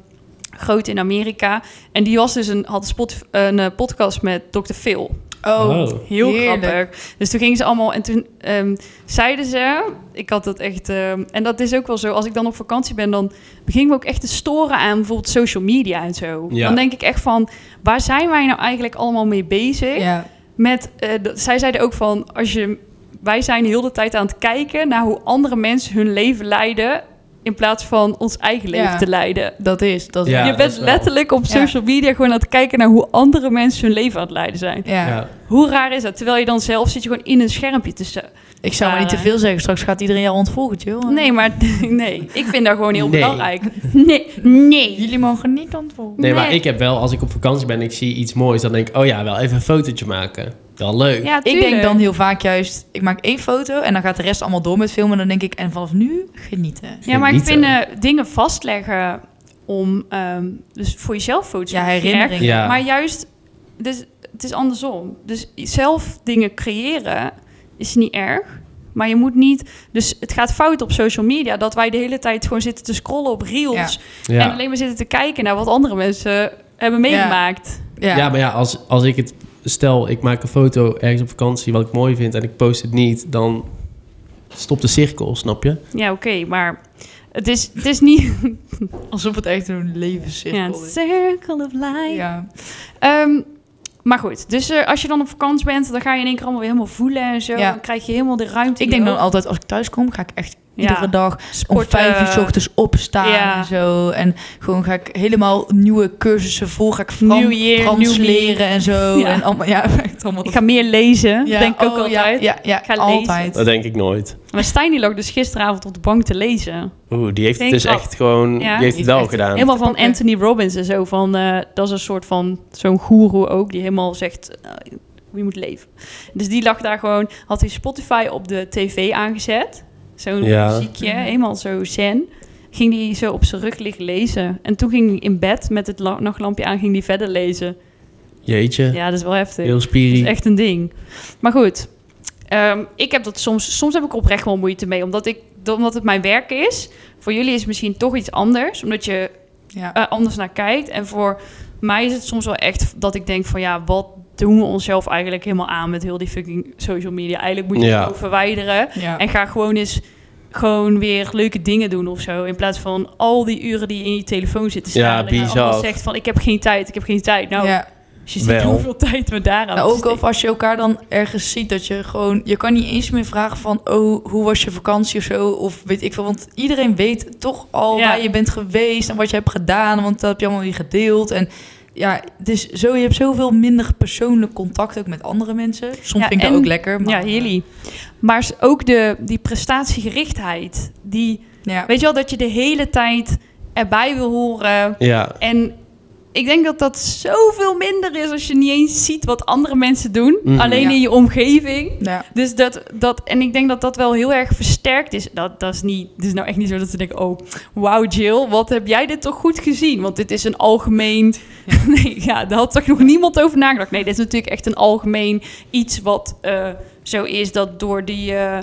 [SPEAKER 1] groot in Amerika. En die was dus een, had een, Spotif- een eh, podcast met Dr. Phil.
[SPEAKER 2] Oh,
[SPEAKER 3] Oh.
[SPEAKER 1] Heel
[SPEAKER 2] Heerlijk.
[SPEAKER 1] grappig. Dus toen gingen ze allemaal en toen ehm, zeiden ze, ik had dat echt, ehm, en dat is ook wel zo, als ik dan op vakantie ben, dan begin ik me ook echt te storen aan bijvoorbeeld social media en zo.
[SPEAKER 3] Ja.
[SPEAKER 1] Dan denk ik echt van, waar zijn wij nou eigenlijk allemaal mee bezig?
[SPEAKER 2] ja.
[SPEAKER 1] Met, eh, dat, zij zeiden ook van, als je, wij zijn heel de tijd aan het kijken naar hoe andere mensen hun leven leiden, in plaats van ons eigen
[SPEAKER 2] Ja.
[SPEAKER 1] leven te leiden.
[SPEAKER 2] Dat is, dat is.
[SPEAKER 3] Ja,
[SPEAKER 1] je
[SPEAKER 3] dat
[SPEAKER 1] bent
[SPEAKER 3] is wel-
[SPEAKER 1] letterlijk op
[SPEAKER 2] Ja.
[SPEAKER 1] social media gewoon aan het kijken naar hoe andere mensen hun leven aan het leiden zijn.
[SPEAKER 2] Ja.
[SPEAKER 3] Ja.
[SPEAKER 1] Hoe raar is dat? Terwijl je dan zelf zit je gewoon in een schermpje tussen.
[SPEAKER 2] Ik zou maar niet te veel zeggen, straks gaat iedereen jou ontvolgen, joh.
[SPEAKER 1] Nee, maar nee. Ik vind dat gewoon heel
[SPEAKER 3] Nee.
[SPEAKER 1] belangrijk. Nee, nee.
[SPEAKER 2] Jullie mogen niet ontvolgen.
[SPEAKER 3] Nee, maar
[SPEAKER 1] Nee.
[SPEAKER 3] ik heb wel, als ik op vakantie ben en ik zie iets moois, dan denk ik, oh ja, wel even een fotootje maken. Dan leuk.
[SPEAKER 1] Ja,
[SPEAKER 2] Ik denk
[SPEAKER 1] tuurlijk.
[SPEAKER 2] dan heel vaak juist, ik maak één foto en dan gaat de rest allemaal door met filmen. En dan denk ik, en vanaf nu genieten.
[SPEAKER 1] Ja, maar ik
[SPEAKER 3] Genieten.
[SPEAKER 1] vind eh, dingen vastleggen om ehm, dus voor jezelf foto's
[SPEAKER 2] Ja,
[SPEAKER 1] te maken, erg.
[SPEAKER 2] herinnering.
[SPEAKER 3] Ja.
[SPEAKER 1] Maar juist, dus het is andersom. Dus zelf dingen creëren is niet erg. Maar je moet niet. Dus het gaat fout op social media dat wij de hele tijd gewoon zitten te scrollen op reels en
[SPEAKER 3] ja.
[SPEAKER 1] alleen maar zitten te kijken naar wat andere mensen hebben
[SPEAKER 2] Ja.
[SPEAKER 1] meegemaakt.
[SPEAKER 2] Ja,
[SPEAKER 3] Ja, maar ja, als, als ik het stel, ik maak een foto ergens op vakantie wat ik mooi vind en ik post het niet, dan stopt de cirkel, snap je?
[SPEAKER 1] Ja, oké, maar het is, het is niet...
[SPEAKER 2] alsof het echt een
[SPEAKER 1] Ja,
[SPEAKER 2] levenscirkel is.
[SPEAKER 1] circle of life.
[SPEAKER 2] Ja.
[SPEAKER 1] Ehm, maar goed, dus eh, als je dan op vakantie bent, dan ga je in één keer allemaal weer helemaal voelen en zo.
[SPEAKER 2] Ja.
[SPEAKER 1] Dan krijg je helemaal de ruimte.
[SPEAKER 2] Ik
[SPEAKER 1] in je
[SPEAKER 2] denk dan
[SPEAKER 1] hoofd.
[SPEAKER 2] altijd, als ik thuis kom, ga ik echt
[SPEAKER 1] Ja.
[SPEAKER 2] iedere dag om
[SPEAKER 1] Sporten.
[SPEAKER 2] vijf uur s ochtends opstaan
[SPEAKER 1] Ja.
[SPEAKER 2] en zo. En gewoon ga ik helemaal nieuwe cursussen vol. Ga ik Fran-
[SPEAKER 1] New year,
[SPEAKER 2] Frans
[SPEAKER 1] new me.
[SPEAKER 2] leren en zo.
[SPEAKER 1] Ja.
[SPEAKER 2] En allemaal, ja, echt allemaal.
[SPEAKER 1] Ik ga meer lezen,
[SPEAKER 2] Ja,
[SPEAKER 1] denk ik ook
[SPEAKER 2] oh, ja,
[SPEAKER 1] altijd.
[SPEAKER 2] Ja, ja,
[SPEAKER 1] Ik ga
[SPEAKER 2] altijd.
[SPEAKER 3] Dat denk ik nooit.
[SPEAKER 1] Maar Stijn die lag dus gisteravond op de bank te lezen.
[SPEAKER 3] Oeh, die heeft het
[SPEAKER 1] Geen
[SPEAKER 3] dus
[SPEAKER 1] grap.
[SPEAKER 3] echt gewoon,
[SPEAKER 1] Ja.
[SPEAKER 3] die heeft het
[SPEAKER 2] Niet
[SPEAKER 3] wel
[SPEAKER 2] echt.
[SPEAKER 3] gedaan.
[SPEAKER 1] Helemaal van
[SPEAKER 2] pakken.
[SPEAKER 1] Anthony Robbins en zo. Van, eh, dat is een soort van zo'n goeroe ook, die helemaal zegt eh, hoe je moet leven. Dus die lag daar gewoon, had hij Spotify op de tv aangezet. Zo'n
[SPEAKER 3] Ja.
[SPEAKER 1] muziekje, helemaal zo zen. Ging die zo op zijn rug liggen lezen. En toen ging hij in bed met het la- nachtlampje aan, ging die verder lezen.
[SPEAKER 3] Jeetje,
[SPEAKER 1] Ja, dat is wel heftig.
[SPEAKER 3] heel
[SPEAKER 1] Dat is
[SPEAKER 3] spierig.
[SPEAKER 1] echt een ding. Maar goed, ehm, ik heb dat soms, soms heb ik oprecht wel moeite mee, omdat, ik, omdat het mijn werk is. Voor jullie is het misschien toch iets anders, omdat je
[SPEAKER 2] Ja.
[SPEAKER 1] eh, anders naar kijkt. En voor mij is het soms wel echt dat ik denk van ja, wat doen we onszelf eigenlijk helemaal aan met heel die fucking social media? Eigenlijk moet je
[SPEAKER 3] Ja.
[SPEAKER 1] het gewoon verwijderen
[SPEAKER 2] Ja.
[SPEAKER 1] en ga gewoon eens gewoon weer leuke dingen doen of zo. In plaats van al die uren die je in je telefoon zit te
[SPEAKER 3] Ja,
[SPEAKER 1] staan. en
[SPEAKER 3] bizar.
[SPEAKER 1] allemaal zegt van ik heb geen tijd, ik heb geen tijd. Nou,
[SPEAKER 2] ja.
[SPEAKER 1] als je ziet
[SPEAKER 3] Wel.
[SPEAKER 1] hoeveel tijd we daaraan
[SPEAKER 2] Nou, ook
[SPEAKER 1] besteden.
[SPEAKER 2] of als je elkaar dan ergens ziet dat je gewoon... Je kan niet eens meer vragen van, oh, hoe was je vakantie of zo? Of weet ik veel, want iedereen weet toch al
[SPEAKER 1] Ja.
[SPEAKER 2] waar je bent geweest en wat je hebt gedaan. Want dat heb je allemaal weer gedeeld. En ja, het is zo, je hebt zoveel minder persoonlijk contact ook met andere mensen. Soms
[SPEAKER 1] Ja,
[SPEAKER 2] vind ik
[SPEAKER 1] en-
[SPEAKER 2] dat ook lekker. Maar,
[SPEAKER 1] Ja, jullie. Maar s- ook de, die prestatiegerichtheid. Die,
[SPEAKER 2] Ja.
[SPEAKER 1] weet je wel, dat je de hele tijd erbij wil horen.
[SPEAKER 3] Ja,
[SPEAKER 1] En ik denk dat dat zoveel minder is als je niet eens ziet wat andere mensen doen.
[SPEAKER 3] Mhm.
[SPEAKER 1] Alleen
[SPEAKER 2] Ja.
[SPEAKER 1] in je omgeving.
[SPEAKER 2] Ja.
[SPEAKER 1] Dus dat, dat, en ik denk dat dat wel heel erg versterkt is. Dat, dat is niet, het is nou echt niet zo dat ze denken, oh, wauw Jill, wat heb jij dit toch goed gezien? Want dit is een algemeen, nee, ja, daar had toch nog niemand over nagedacht. Nee, dit is natuurlijk echt een algemeen iets wat eh, zo is dat door die, eh,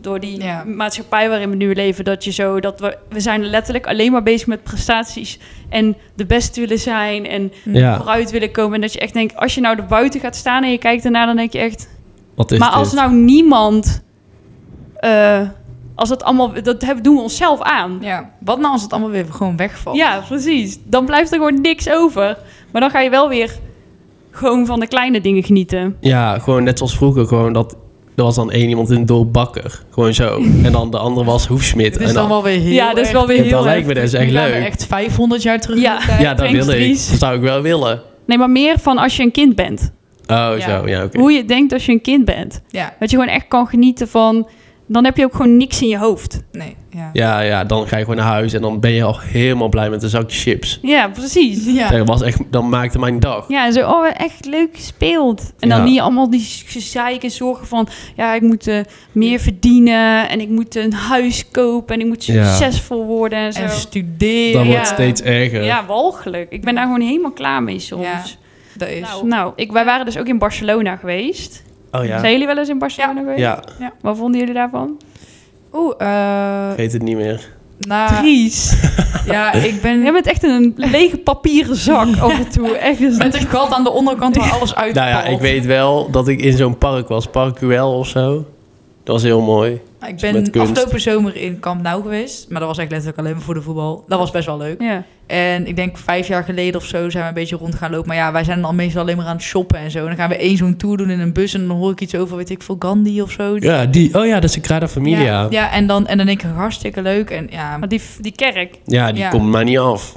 [SPEAKER 1] door die
[SPEAKER 2] Ja.
[SPEAKER 1] maatschappij waarin we nu leven, dat je zo, dat we, we zijn letterlijk alleen maar bezig met prestaties en de beste willen zijn en
[SPEAKER 3] ja.
[SPEAKER 1] vooruit willen komen. En dat je echt denkt, als je nou er buiten gaat staan en je kijkt ernaar, dan denk je echt,
[SPEAKER 3] Wat is
[SPEAKER 1] maar als
[SPEAKER 3] dit?
[SPEAKER 1] nou niemand. eh, als dat allemaal. Dat hebben, doen we onszelf aan.
[SPEAKER 2] Ja. Wat nou als het allemaal weer gewoon
[SPEAKER 1] Ja.
[SPEAKER 2] wegvalt?
[SPEAKER 1] precies. Dan blijft er gewoon niks over. Maar dan ga je wel weer. gewoon van de kleine dingen genieten.
[SPEAKER 3] Ja, gewoon net zoals vroeger, gewoon dat... Er was dan één iemand in het dorp bakker. Gewoon zo. En dan de andere was Hoefsmid.
[SPEAKER 2] Het
[SPEAKER 3] en
[SPEAKER 2] is Dus dan wel weer heel
[SPEAKER 1] ja, dat is wel
[SPEAKER 2] erg-
[SPEAKER 1] weer
[SPEAKER 3] Ja,
[SPEAKER 1] heel.
[SPEAKER 3] dat
[SPEAKER 1] erg.
[SPEAKER 3] lijkt me dus echt
[SPEAKER 2] We gaan
[SPEAKER 3] leuk.
[SPEAKER 2] echt 500 jaar terug.
[SPEAKER 1] Ja.
[SPEAKER 2] in de tijd.
[SPEAKER 3] ja, dat wil ik. Dat
[SPEAKER 1] Dries.
[SPEAKER 3] zou ik wel willen.
[SPEAKER 1] Nee, maar meer van als je een kind bent.
[SPEAKER 3] Oh,
[SPEAKER 2] Ja.
[SPEAKER 3] zo. Ja, oké.
[SPEAKER 1] Hoe je denkt als je een kind bent.
[SPEAKER 2] ja.
[SPEAKER 1] Dat je gewoon echt kan genieten van. dan heb je ook gewoon niks in je hoofd.
[SPEAKER 2] Nee, ja.
[SPEAKER 3] Ja, ja, dan ga je gewoon naar huis en dan ben je al helemaal blij met een zakje chips.
[SPEAKER 1] Ja, precies.
[SPEAKER 2] Ja.
[SPEAKER 3] Dat was echt, dan maakte mijn dag.
[SPEAKER 1] Ja, en zo, oh, echt leuk gespeeld. En dan
[SPEAKER 3] Ja.
[SPEAKER 1] niet allemaal die gezeik en zorgen van... ja, ik moet eh, meer verdienen en ik moet een huis kopen... en ik moet
[SPEAKER 3] Ja.
[SPEAKER 1] succesvol worden en zo.
[SPEAKER 2] En studeren.
[SPEAKER 3] Dan
[SPEAKER 1] Ja.
[SPEAKER 3] wordt het steeds erger.
[SPEAKER 1] ja, walgelijk. Ik ben daar gewoon helemaal klaar mee soms.
[SPEAKER 2] Dat is.
[SPEAKER 1] Nou, nou ik, wij waren dus ook in Barcelona geweest.
[SPEAKER 3] Oh ja.
[SPEAKER 1] Zijn jullie wel eens in Barcelona geweest?
[SPEAKER 3] Ja,
[SPEAKER 1] Wat vonden jullie daarvan?
[SPEAKER 2] Oeh, eh
[SPEAKER 3] weet het niet meer.
[SPEAKER 1] Ah.
[SPEAKER 2] nou,
[SPEAKER 1] Dries.
[SPEAKER 2] ja, ik ben
[SPEAKER 1] Jij bent echt een lege papieren zak af en toe. Echt, dat is
[SPEAKER 2] met een gat aan de onderkant waar alles uit.
[SPEAKER 3] Nou ja, ik weet wel dat ik in zo'n park was. Park UL of zo. Dat was heel mooi.
[SPEAKER 2] Nou, Ik
[SPEAKER 3] Met
[SPEAKER 2] ben
[SPEAKER 3] kunst.
[SPEAKER 2] afgelopen zomer in Camp Nou geweest, maar dat was echt letterlijk alleen maar voor de voetbal. Dat was best wel leuk.
[SPEAKER 1] Ja.
[SPEAKER 2] En ik denk vijf jaar geleden of zo zijn we een beetje rond gaan lopen. Maar ja, wij zijn dan meestal alleen maar aan het shoppen en zo. En dan gaan we één zo'n tour doen in een bus en dan hoor ik iets over, weet ik veel, Gandhi of zo.
[SPEAKER 3] Ja, die. Oh ja, dat is de Sagrada Familia.
[SPEAKER 2] Ja,
[SPEAKER 3] Ja,
[SPEAKER 2] ja, en, dan, en dan denk ik, hartstikke leuk. En ja,
[SPEAKER 1] Maar die, die kerk,
[SPEAKER 3] die
[SPEAKER 2] Ja.
[SPEAKER 3] komt mij niet af.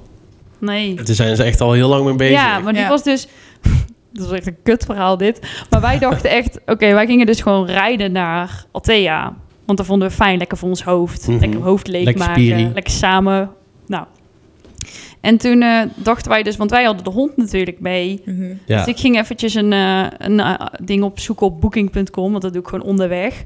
[SPEAKER 1] nee.
[SPEAKER 3] Daar zijn ze echt al heel lang mee bezig.
[SPEAKER 1] Ja, maar die
[SPEAKER 2] Ja.
[SPEAKER 1] was dus... Dat was echt een kut verhaal dit. Maar wij dachten echt... Oké, wij gingen dus gewoon rijden naar Althea. Want dat vonden we fijn. Lekker voor ons hoofd.
[SPEAKER 3] Mhm.
[SPEAKER 1] Lekker hoofd leeg
[SPEAKER 3] Lekker
[SPEAKER 1] maken.
[SPEAKER 3] spierie.
[SPEAKER 1] Lekker samen. Nou. En toen eh, dachten wij dus... Want wij hadden de hond natuurlijk mee.
[SPEAKER 2] mhm.
[SPEAKER 3] Ja.
[SPEAKER 1] Dus ik ging eventjes een, eh, een eh, ding opzoeken op booking.com. Want dat doe ik gewoon onderweg.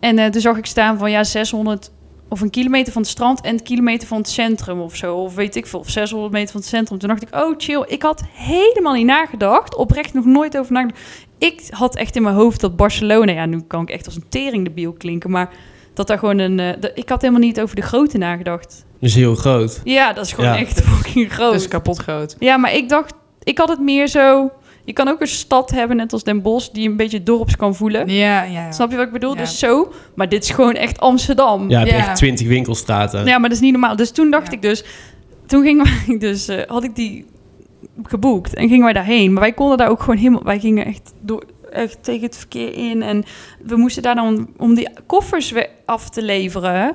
[SPEAKER 1] En eh, toen zag ik staan van ja, 600... Of een kilometer van het strand en een kilometer van het centrum of zo. Of weet ik veel, of 600 meter van het centrum. Toen dacht ik, oh chill. Ik had helemaal niet nagedacht. Oprecht nog nooit over nagedacht. Ik had echt in mijn hoofd dat Barcelona... Ja, nu kan ik echt als een tering debiel klinken. Maar dat daar gewoon een... eh, dat- ik had helemaal niet over de grootte nagedacht.
[SPEAKER 3] Dat is heel groot.
[SPEAKER 1] Ja, dat is gewoon
[SPEAKER 3] Ja.
[SPEAKER 1] echt fucking groot.
[SPEAKER 2] Dat is kapot groot.
[SPEAKER 1] Ja, maar ik dacht, ik had het meer zo. Je kan ook een stad hebben, net als Den Bosch, die een beetje dorps kan voelen.
[SPEAKER 2] Ja, ja, ja.
[SPEAKER 1] Snap je wat ik bedoel?
[SPEAKER 2] Ja.
[SPEAKER 1] Dus zo. Maar dit is gewoon echt Amsterdam.
[SPEAKER 3] Ja, je hebt
[SPEAKER 2] Ja.
[SPEAKER 3] echt twintig winkelstraten.
[SPEAKER 1] Ja, maar dat is niet normaal. Dus toen dacht
[SPEAKER 2] Ja.
[SPEAKER 1] ik dus, toen gingen wij dus, eh, had ik die geboekt en gingen wij daarheen. Maar wij konden daar ook gewoon helemaal, wij gingen echt door, echt tegen het verkeer in en we moesten daar dan om die koffers weer af te leveren.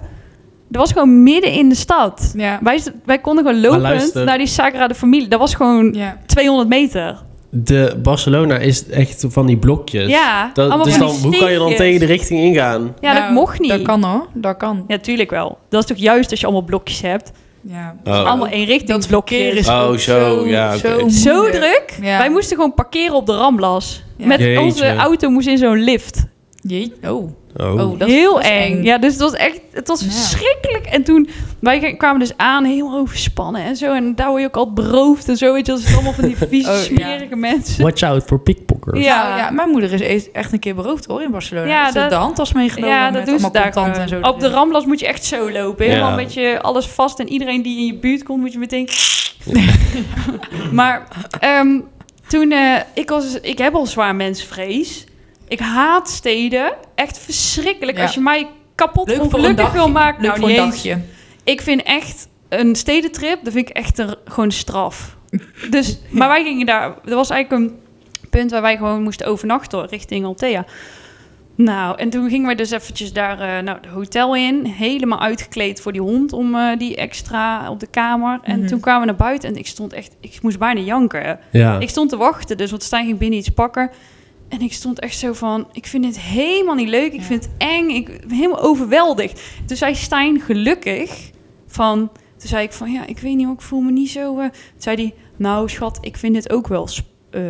[SPEAKER 1] Dat was gewoon midden in de stad.
[SPEAKER 2] Ja.
[SPEAKER 1] Wij, wij konden gewoon lopend
[SPEAKER 3] luister.
[SPEAKER 1] naar die Sagrada Familie. Dat was gewoon
[SPEAKER 2] Ja.
[SPEAKER 1] 200 meter.
[SPEAKER 3] De Barcelona is echt van die blokjes.
[SPEAKER 1] Ja,
[SPEAKER 3] Dat-
[SPEAKER 1] allemaal
[SPEAKER 3] dus
[SPEAKER 1] van
[SPEAKER 3] dan,
[SPEAKER 1] die
[SPEAKER 3] hoe kan je dan
[SPEAKER 1] steegjes.
[SPEAKER 3] tegen de richting ingaan?
[SPEAKER 1] Ja, dat
[SPEAKER 2] Nou,
[SPEAKER 1] mocht niet.
[SPEAKER 2] Dat kan hoor, dat kan.
[SPEAKER 1] Ja, tuurlijk wel. Dat is toch juist als je allemaal blokjes hebt.
[SPEAKER 2] Ja.
[SPEAKER 3] Oh.
[SPEAKER 1] Allemaal één richting.
[SPEAKER 2] Dat verkeer is
[SPEAKER 3] Oh,
[SPEAKER 2] ook
[SPEAKER 3] zo, ja, oké.
[SPEAKER 2] zo,
[SPEAKER 1] Zo
[SPEAKER 2] moeilijk.
[SPEAKER 1] druk.
[SPEAKER 2] Ja.
[SPEAKER 1] Wij moesten gewoon parkeren op de Ramblas.
[SPEAKER 2] Ja.
[SPEAKER 1] Met
[SPEAKER 3] Jeetje.
[SPEAKER 1] onze auto moest in zo'n lift.
[SPEAKER 2] Jeetje. Oh.
[SPEAKER 3] Oh.
[SPEAKER 2] Oh, dat is-
[SPEAKER 1] heel
[SPEAKER 2] dat is
[SPEAKER 1] eng.
[SPEAKER 2] eng.
[SPEAKER 1] Ja, dus het was echt, het was
[SPEAKER 2] Ja.
[SPEAKER 1] verschrikkelijk. En toen, wij g- kwamen dus aan, heel overspannen en zo. En daar word je ook al beroofd en zo. Weet je, dat is allemaal van die vieze,
[SPEAKER 2] Oh, ja.
[SPEAKER 1] smerige mensen.
[SPEAKER 3] Watch out for pickpockers.
[SPEAKER 1] Ja.
[SPEAKER 2] Ja. Nou ja, mijn moeder is e- echt een keer beroofd hoor in Barcelona.
[SPEAKER 1] Ja,
[SPEAKER 2] Ja,
[SPEAKER 1] dat-
[SPEAKER 2] de handtas meegenomen
[SPEAKER 1] Ja,
[SPEAKER 2] met
[SPEAKER 1] dat doen ze
[SPEAKER 2] allemaal
[SPEAKER 1] daar
[SPEAKER 2] contant
[SPEAKER 1] gewoon.
[SPEAKER 2] en zo.
[SPEAKER 1] Op de Ramblas moet je echt zo lopen.
[SPEAKER 3] Ja.
[SPEAKER 1] Helemaal met je alles vast. En iedereen die in je buurt komt, moet je meteen... maar ehm, toen... eh, ik, was, ik heb al zwaar mensvrees. Ik haat steden. Echt verschrikkelijk.
[SPEAKER 2] Ja.
[SPEAKER 1] Als je mij kapot
[SPEAKER 2] Leuk voor een
[SPEAKER 1] ongelukkig
[SPEAKER 2] dagje.
[SPEAKER 1] wil maken...
[SPEAKER 2] Leuk
[SPEAKER 1] nou,
[SPEAKER 2] voor een
[SPEAKER 1] niet eens.
[SPEAKER 2] dagje.
[SPEAKER 1] Ik vind echt een stedentrip, dat vind ik echt een, gewoon straf. Dus, maar wij gingen daar, er was eigenlijk een punt waar wij gewoon moesten overnachten richting Altea. Nou, en toen gingen wij dus eventjes daar, eh nou, het hotel in, helemaal uitgekleed voor die hond om eh, die extra op de kamer. En
[SPEAKER 2] Mhm.
[SPEAKER 1] toen kwamen we naar buiten en ik stond echt, ik moest bijna janken.
[SPEAKER 3] Ja.
[SPEAKER 1] Ik stond te wachten, dus want Stijn ging binnen iets pakken. En ik stond echt zo van, ik vind dit helemaal niet leuk. Ik
[SPEAKER 2] Ja.
[SPEAKER 1] vind het eng. Ik ben helemaal overweldigd. Toen zei Stijn gelukkig van... Toen zei ik van, ja, ik weet niet, hoor, ik voel me niet zo... eh. Toen zei hij, nou schat, ik vind dit ook wel sp- eh,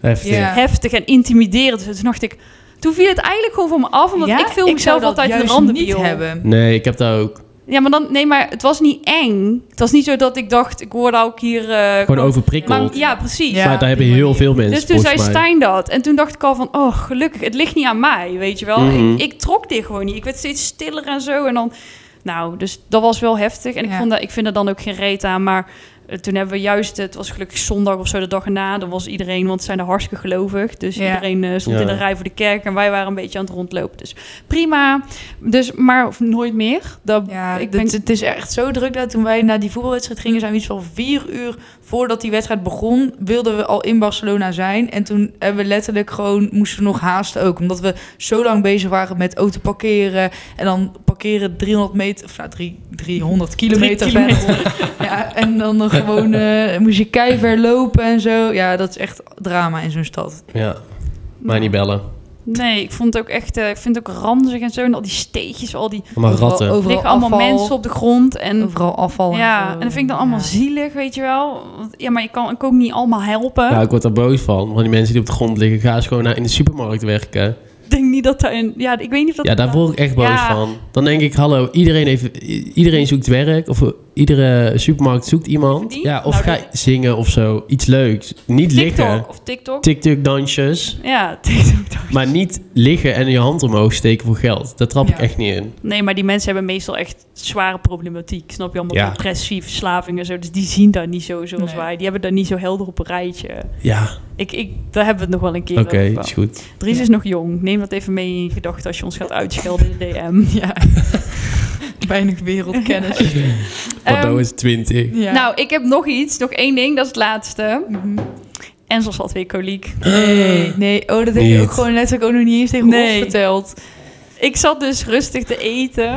[SPEAKER 3] Heftig.
[SPEAKER 2] Ja.
[SPEAKER 1] heftig en intimiderend. Dus toen dacht ik... Toen viel het eigenlijk gewoon van me af, omdat
[SPEAKER 2] Ja,
[SPEAKER 1] ik viel
[SPEAKER 2] zou
[SPEAKER 1] mezelf
[SPEAKER 2] dat
[SPEAKER 1] altijd in de
[SPEAKER 2] juist
[SPEAKER 1] randen
[SPEAKER 2] niet hebben.
[SPEAKER 3] Nee, ik heb dat ook.
[SPEAKER 1] Ja, maar dan, nee, maar het was niet eng. Het was niet zo dat ik dacht, ik word ook hier... eh,
[SPEAKER 3] Gewoon overprikkeld.
[SPEAKER 1] Maar, ja, precies.
[SPEAKER 2] Ja,
[SPEAKER 3] maar daar
[SPEAKER 2] op
[SPEAKER 3] hebben
[SPEAKER 2] die
[SPEAKER 3] heel
[SPEAKER 2] manier.
[SPEAKER 3] veel mensen.
[SPEAKER 1] Dus toen zei
[SPEAKER 3] volgens mij.
[SPEAKER 1] Stijn dat. En toen dacht ik al van, oh, gelukkig, het ligt niet aan mij, weet je wel.
[SPEAKER 3] Mhm.
[SPEAKER 1] Ik, ik trok dit gewoon niet. Ik werd steeds stiller en zo. En dan, nou, dus dat was wel heftig. En ik,
[SPEAKER 2] Ja.
[SPEAKER 1] vond dat, ik vind er dan ook geen reet aan. Maar eh, toen hebben we juist, het was gelukkig zondag of zo, de dag erna. Dan was iedereen, want ze zijn er hartstikke gelovig. Dus
[SPEAKER 2] Ja.
[SPEAKER 1] iedereen eh, stond
[SPEAKER 3] Ja.
[SPEAKER 1] in de rij voor de kerk. En wij waren een beetje aan het rondlopen. Dus prima. Dus, maar of nooit meer. Dat,
[SPEAKER 2] Ja,
[SPEAKER 1] ik
[SPEAKER 2] ik
[SPEAKER 1] ben,
[SPEAKER 2] het, het is echt zo druk dat toen wij naar die voetbalwedstrijd gingen, zijn we iets van vier uur voordat die wedstrijd begon, wilden we al in Barcelona zijn. En toen hebben we letterlijk gewoon, moesten we nog haasten ook, omdat we zo lang bezig waren met auto parkeren. En dan parkeren 300 meter, of nou drie- 300 kilometer
[SPEAKER 1] kilometer.
[SPEAKER 2] verder. ja, en dan nog gewoon eh, moest je keihard lopen en zo. Ja, dat is echt drama in zo'n stad.
[SPEAKER 3] Ja, mij niet bellen.
[SPEAKER 1] Nee, ik vond het ook echt, eh, ik vind het ook ranzig en zo. En al die steegjes, al die
[SPEAKER 3] Maar
[SPEAKER 2] Overal-
[SPEAKER 3] ratten.
[SPEAKER 2] overal
[SPEAKER 1] liggen allemaal
[SPEAKER 2] afval,
[SPEAKER 1] mensen op de grond. En
[SPEAKER 2] Overal afval.
[SPEAKER 1] ja,
[SPEAKER 2] zo.
[SPEAKER 1] en dat vind ik dan allemaal
[SPEAKER 2] Ja.
[SPEAKER 1] zielig, weet je wel. Want, ja, maar je kan ik ook niet allemaal helpen.
[SPEAKER 3] Ja, ik word daar boos van. Want die mensen die op de grond liggen, gaan ze gewoon naar in de supermarkt werken.
[SPEAKER 1] Ik denk niet dat daar een, ja, ik weet niet of dat
[SPEAKER 3] Ja, daar word ik echt boos
[SPEAKER 1] Ja.
[SPEAKER 3] van. Dan denk ik, hallo, iedereen, heeft, i- iedereen zoekt werk. Of eh, iedere supermarkt zoekt iemand.
[SPEAKER 1] Die?
[SPEAKER 3] Ja, of
[SPEAKER 1] Nou,
[SPEAKER 3] ga
[SPEAKER 1] die-
[SPEAKER 3] zingen of zo. Iets leuks. Niet liggen.
[SPEAKER 1] TikTok of TikTok.
[SPEAKER 3] TikTok-dansjes.
[SPEAKER 1] ja, TikTok. dan.
[SPEAKER 3] Maar niet liggen en je hand omhoog steken voor geld. Daar trap ik
[SPEAKER 2] Ja.
[SPEAKER 3] echt niet in.
[SPEAKER 1] Nee, maar die mensen hebben meestal echt zware problematiek. Snap je allemaal
[SPEAKER 3] Ja.
[SPEAKER 1] depressie, verslaving en zo. Dus die zien dat niet zo zoals
[SPEAKER 2] Nee.
[SPEAKER 1] wij. Die hebben dat niet zo helder op een rijtje.
[SPEAKER 3] Ja,
[SPEAKER 1] Ik, ik, daar hebben we het nog wel een keer
[SPEAKER 3] oké,
[SPEAKER 1] over.
[SPEAKER 3] is goed.
[SPEAKER 1] Dries
[SPEAKER 2] Ja.
[SPEAKER 1] is nog jong. Neem dat even mee in je gedachten als je ons gaat uitschelden in de DM.
[SPEAKER 2] Ja. Weinig wereldkennis.
[SPEAKER 3] Want
[SPEAKER 1] Ehm,
[SPEAKER 3] nou is 20.
[SPEAKER 2] Ja.
[SPEAKER 1] Nou, ik heb nog iets. Nog één ding. Dat is het laatste.
[SPEAKER 2] Mhm.
[SPEAKER 1] En zoals wat weer koliek.
[SPEAKER 2] Nee, nee. Oh, dat heb je
[SPEAKER 3] Niet.
[SPEAKER 2] ook gewoon net ook nog niet eens tegen
[SPEAKER 1] Nee.
[SPEAKER 2] ons verteld.
[SPEAKER 1] Ik zat dus rustig te eten.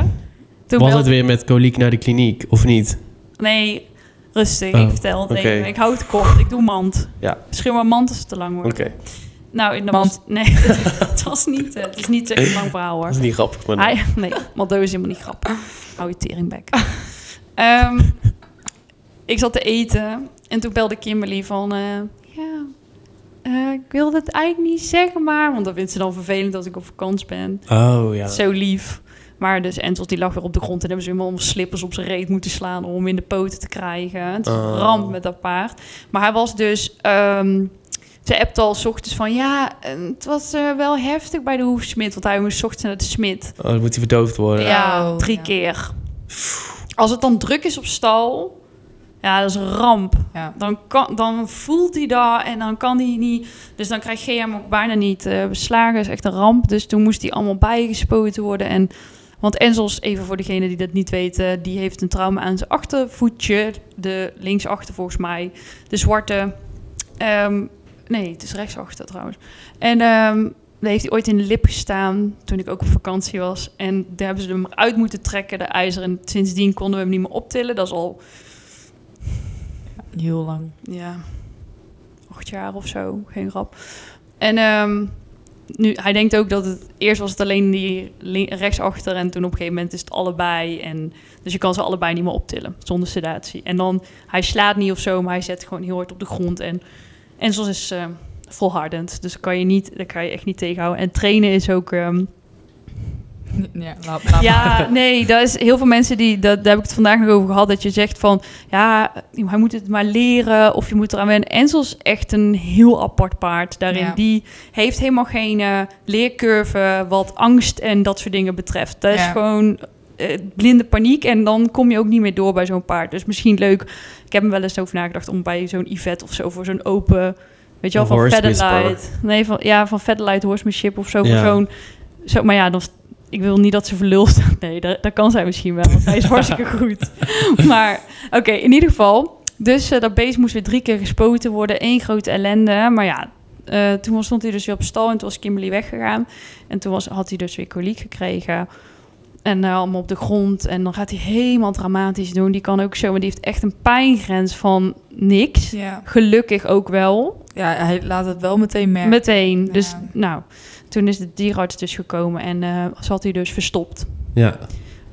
[SPEAKER 1] Toen
[SPEAKER 3] Was
[SPEAKER 1] belde-
[SPEAKER 3] het weer met koliek naar de kliniek, of niet?
[SPEAKER 1] Nee, rustig.
[SPEAKER 3] Oh,
[SPEAKER 1] ik vertel het
[SPEAKER 3] oké.
[SPEAKER 1] even. Ik hou het kort. Ik doe mand.
[SPEAKER 3] Ja.
[SPEAKER 1] Schreeuw maar mand als het te lang wordt. Nou, in de
[SPEAKER 2] Mand.
[SPEAKER 1] mand. Nee, het was niet. eh, Het is niet echt een lang verhaal hoor.
[SPEAKER 3] Dat is niet grappig, maar
[SPEAKER 1] Hij, nee, Maldo is helemaal niet grappig. Hou je teringbek. Ehm, ik zat te eten en toen belde Kimberly van... eh, ja, eh, ik wil dat eigenlijk niet zeggen, maar... Want dat vindt ze dan vervelend als ik op vakantie ben.
[SPEAKER 3] Oh ja.
[SPEAKER 1] Zo lief. Maar dus Entels die lag weer op de grond en hebben ze hem allemaal slippers op zijn reet moeten slaan om hem in de poten te krijgen. Het is een
[SPEAKER 3] Oh.
[SPEAKER 1] ramp met dat paard. Maar hij was dus. ehm, ze appte al 's ochtends van ja, eh, het was eh, wel heftig bij de hoefsmid, want hij moest 's ochtends naar de smid.
[SPEAKER 3] Oh, dan moet hij verdoofd worden.
[SPEAKER 1] Ja,
[SPEAKER 2] Oh,
[SPEAKER 1] drie
[SPEAKER 2] ja.
[SPEAKER 1] keer. Als het dan druk is op stal, ja, dat is een ramp.
[SPEAKER 2] Ja.
[SPEAKER 1] Dan, kan, dan voelt hij dat en dan kan hij niet. Dus dan krijg je hem ook bijna niet eh, beslagen. Dat is echt een ramp. Dus toen moest hij allemaal bijgespoten worden. En, want Enzels, even voor degene die dat niet weten, die heeft een trauma aan zijn achtervoetje. De linksachter volgens mij. De zwarte. ehm, nee, het is rechtsachter trouwens. En ehm, daar heeft hij ooit in de lip gestaan toen ik ook op vakantie was. En daar hebben ze hem uit moeten trekken, de ijzer. En sindsdien konden we hem niet meer optillen. Dat is al
[SPEAKER 2] Heel lang.
[SPEAKER 1] ja, acht jaar of zo, geen grap. En ehm, nu, hij denkt ook dat het eerst was het alleen die li- rechtsachter en toen op een gegeven moment is het allebei. En, dus je kan ze allebei niet meer optillen zonder sedatie. En dan, hij slaat niet of zo, maar hij zet gewoon heel hard op de grond. En, en zoals is eh, volhardend, dus dat kan je niet, dat kan je echt niet tegenhouden. En trainen is ook... ehm,
[SPEAKER 2] Ja, laat, laat
[SPEAKER 1] ja, nee, daar is heel veel mensen die, dat, daar heb ik het vandaag nog over gehad, dat je zegt van, ja, hij moet het maar leren of je moet eraan wennen. Enzo is echt een heel apart paard daarin.
[SPEAKER 2] Ja.
[SPEAKER 1] Die heeft helemaal geen eh, leercurve wat angst en dat soort dingen betreft. Dat is
[SPEAKER 2] Ja.
[SPEAKER 1] gewoon eh, blinde paniek en dan kom je ook niet meer door bij zo'n paard. Dus misschien leuk, ik heb hem wel eens over nagedacht om bij zo'n Yvette of zo voor zo'n open... Weet je wel,
[SPEAKER 3] Een
[SPEAKER 1] van
[SPEAKER 3] horse
[SPEAKER 1] Federlight. Nee, van, ja, van Federlight Horsemanship of zo.
[SPEAKER 3] Ja.
[SPEAKER 1] Voor zo'n zo, maar ja, dan, ik wil niet dat ze verlul staat. Nee, dat, dat kan zij misschien wel. Want hij is hartstikke goed. Maar oké, in ieder geval. Dus eh, dat beest moest weer drie keer gespoten worden. één grote ellende. Maar ja, eh, toen stond hij dus weer op stal. En toen was Kimberly weggegaan. En toen was, had hij dus weer koliek gekregen. En eh, allemaal op de grond. En dan gaat hij helemaal dramatisch doen. Die kan ook zo. Maar die heeft echt een pijngrens van niks.
[SPEAKER 2] Ja.
[SPEAKER 1] Gelukkig ook wel.
[SPEAKER 2] ja, hij laat het wel meteen merken.
[SPEAKER 1] Meteen. Dus
[SPEAKER 2] Ja.
[SPEAKER 1] nou, toen is de dierarts dus gekomen. En eh zat hij dus verstopt
[SPEAKER 3] Ja.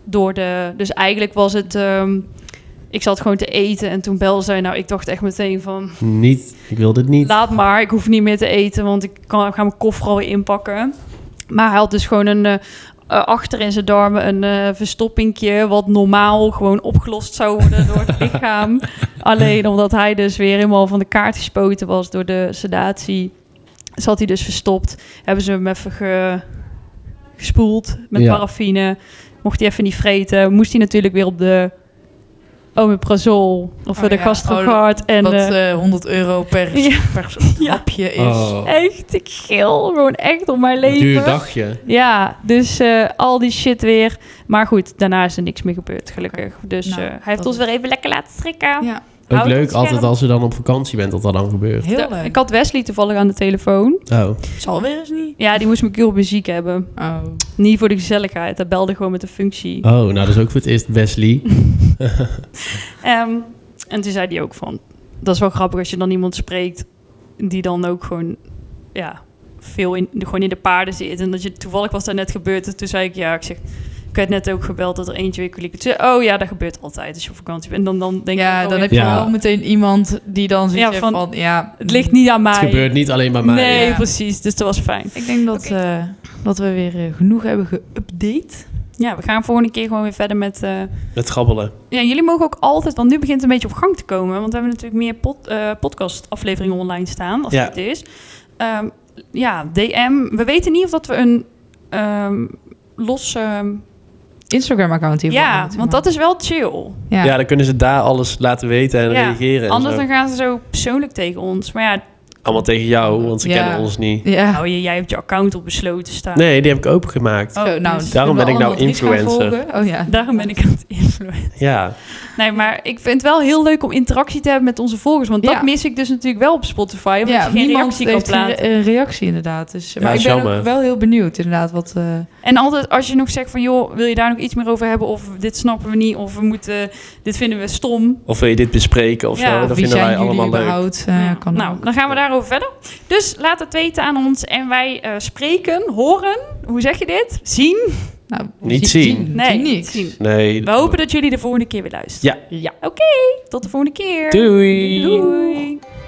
[SPEAKER 1] door de. Dus eigenlijk was het. ehm, ik zat gewoon te eten en toen belde zij. Nou, ik dacht echt meteen van.
[SPEAKER 3] Niet. Ik wil dit niet.
[SPEAKER 1] Laat maar, ik hoef niet meer te eten, want ik, kan, ik ga mijn koffer alweer inpakken. Maar hij had dus gewoon een. eh, eh, achter in zijn darmen een eh verstoppingje, wat normaal gewoon opgelost zou worden door het lichaam. Alleen omdat hij dus weer helemaal van de kaart gespoten was door de sedatie, zat hij dus verstopt. Hebben ze hem even ge- gespoeld met
[SPEAKER 3] Ja.
[SPEAKER 1] paraffine. Mocht hij even niet vreten, moest hij natuurlijk weer op de omeprazol of
[SPEAKER 2] Oh
[SPEAKER 1] eh, de
[SPEAKER 2] ja,
[SPEAKER 1] gastrogard. en,
[SPEAKER 2] Wat
[SPEAKER 1] eh,
[SPEAKER 2] eh, 100 euro per,
[SPEAKER 1] Ja.
[SPEAKER 2] per
[SPEAKER 1] Ja.
[SPEAKER 2] hapje is.
[SPEAKER 3] Oh.
[SPEAKER 1] Echt, ik gil gewoon echt op mijn leven.
[SPEAKER 3] Duur dagje.
[SPEAKER 1] Ja, dus eh, al die shit weer. Maar goed, daarna is er niks meer gebeurd, gelukkig. Dus
[SPEAKER 2] Nou,
[SPEAKER 1] eh, hij heeft
[SPEAKER 2] dat
[SPEAKER 1] ons
[SPEAKER 2] is-
[SPEAKER 1] weer even lekker laten strikken.
[SPEAKER 2] Ja,
[SPEAKER 3] Ook
[SPEAKER 1] Houdt het
[SPEAKER 3] leuk
[SPEAKER 1] scherp.
[SPEAKER 3] altijd als je dan op vakantie bent dat dat dan gebeurt.
[SPEAKER 2] heel
[SPEAKER 1] De-
[SPEAKER 2] leuk.
[SPEAKER 1] ik had Wesley toevallig aan de telefoon.
[SPEAKER 3] Oh.
[SPEAKER 2] zal weer eens niet.
[SPEAKER 1] Ja, die moest mijn op muziek hebben.
[SPEAKER 2] Oh.
[SPEAKER 1] Niet voor de gezelligheid. Hij belde gewoon met een functie.
[SPEAKER 3] Oh, nou dat is ook voor het eerst Wesley.
[SPEAKER 1] Ehm, en toen zei hij ook van... Dat is wel grappig als je dan iemand spreekt... die dan ook gewoon... Ja, veel in, gewoon in de paarden zit. En dat je, toevallig was dat net gebeurd. En toen zei ik, ja, ik zeg... Ik werd net ook gebeld dat er eentje weer liep. Toen zei ik, Oh ja, dat gebeurt altijd als je op vakantie bent. En dan, dan denk
[SPEAKER 2] ja,
[SPEAKER 1] ik...
[SPEAKER 2] dan
[SPEAKER 1] oh,
[SPEAKER 2] heb je
[SPEAKER 3] Ja.
[SPEAKER 2] wel meteen iemand die dan zoiets
[SPEAKER 1] Ja,
[SPEAKER 2] heeft van,
[SPEAKER 1] van-
[SPEAKER 2] ja,
[SPEAKER 1] Het ligt niet aan mij.
[SPEAKER 3] Het gebeurt niet alleen bij mij.
[SPEAKER 1] Nee,
[SPEAKER 2] Ja.
[SPEAKER 1] precies. Dus dat was fijn.
[SPEAKER 2] Ik denk dat, eh, dat we weer eh, genoeg hebben geüpdate.
[SPEAKER 1] Ja, we gaan volgende keer gewoon weer verder met... eh,
[SPEAKER 3] Met grabbelen.
[SPEAKER 1] Ja, jullie mogen ook altijd, want nu begint het een beetje op gang te komen. Want we hebben natuurlijk meer pod, eh, podcast-afleveringen online staan, als
[SPEAKER 3] Ja.
[SPEAKER 1] het goed is. Ehm, ja, DM. We weten niet of dat we een ehm, los... ehm,
[SPEAKER 2] Instagram-account hiervoor.
[SPEAKER 1] ja,
[SPEAKER 2] moeten
[SPEAKER 1] want dat is wel chill.
[SPEAKER 2] maken. Ja.
[SPEAKER 3] Ja. dan kunnen ze daar alles laten weten en
[SPEAKER 1] Ja,
[SPEAKER 3] reageren. En
[SPEAKER 1] Anders
[SPEAKER 3] zo.
[SPEAKER 1] dan gaan ze zo persoonlijk tegen ons. Maar ja,
[SPEAKER 3] Allemaal tegen jou, want ze
[SPEAKER 2] Ja.
[SPEAKER 3] kennen ons niet.
[SPEAKER 2] Ja.
[SPEAKER 1] nou, jij hebt je account op besloten staan.
[SPEAKER 3] Nee, die heb ik opengemaakt.
[SPEAKER 1] Oh,
[SPEAKER 2] Zo, nou,
[SPEAKER 1] dus
[SPEAKER 2] zullen we
[SPEAKER 3] daarom ben ik nou
[SPEAKER 2] allemaal Dries gaan
[SPEAKER 3] influencer.
[SPEAKER 2] volgen? Oh ja.
[SPEAKER 1] Daarom ben ik aan het influencen.
[SPEAKER 3] Ja,
[SPEAKER 1] Nee, maar ik vind het wel heel leuk om interactie te hebben met onze volgers. Want
[SPEAKER 2] Ja.
[SPEAKER 1] dat mis ik dus natuurlijk wel op Spotify. Omdat
[SPEAKER 2] Ja,
[SPEAKER 1] je geen
[SPEAKER 2] niemand
[SPEAKER 1] reactie kan
[SPEAKER 2] heeft een
[SPEAKER 1] plaatsen.
[SPEAKER 2] re- een reactie inderdaad. Dus, maar ik
[SPEAKER 3] is
[SPEAKER 2] ben ook
[SPEAKER 3] jammer.
[SPEAKER 2] wel heel benieuwd inderdaad wat... eh,
[SPEAKER 1] En altijd als je nog zegt van joh, wil je daar nog iets meer over hebben? Of dit snappen we niet, of we moeten, dit vinden we stom.
[SPEAKER 3] of wil je dit bespreken of
[SPEAKER 1] Ja,
[SPEAKER 3] zo?
[SPEAKER 2] wie
[SPEAKER 3] Dat vinden
[SPEAKER 2] zijn
[SPEAKER 3] wij
[SPEAKER 2] jullie
[SPEAKER 3] allemaal leuk.
[SPEAKER 2] überhaupt? Eh,
[SPEAKER 1] Ja.
[SPEAKER 2] kan
[SPEAKER 1] nou,
[SPEAKER 2] ook.
[SPEAKER 1] dan gaan we daarover verder. Dus laat het weten aan ons en wij eh, spreken, horen, hoe zeg je dit? Zien.
[SPEAKER 2] Nou,
[SPEAKER 3] Niet
[SPEAKER 2] zie-
[SPEAKER 3] zien.
[SPEAKER 2] zie-
[SPEAKER 1] Nee,
[SPEAKER 2] zie
[SPEAKER 1] niet
[SPEAKER 2] niks.
[SPEAKER 1] zien.
[SPEAKER 3] Nee.
[SPEAKER 1] We hopen dat jullie de volgende keer weer luisteren.
[SPEAKER 3] Ja.
[SPEAKER 1] Oké, tot de volgende keer.
[SPEAKER 3] Doei.
[SPEAKER 1] Doei.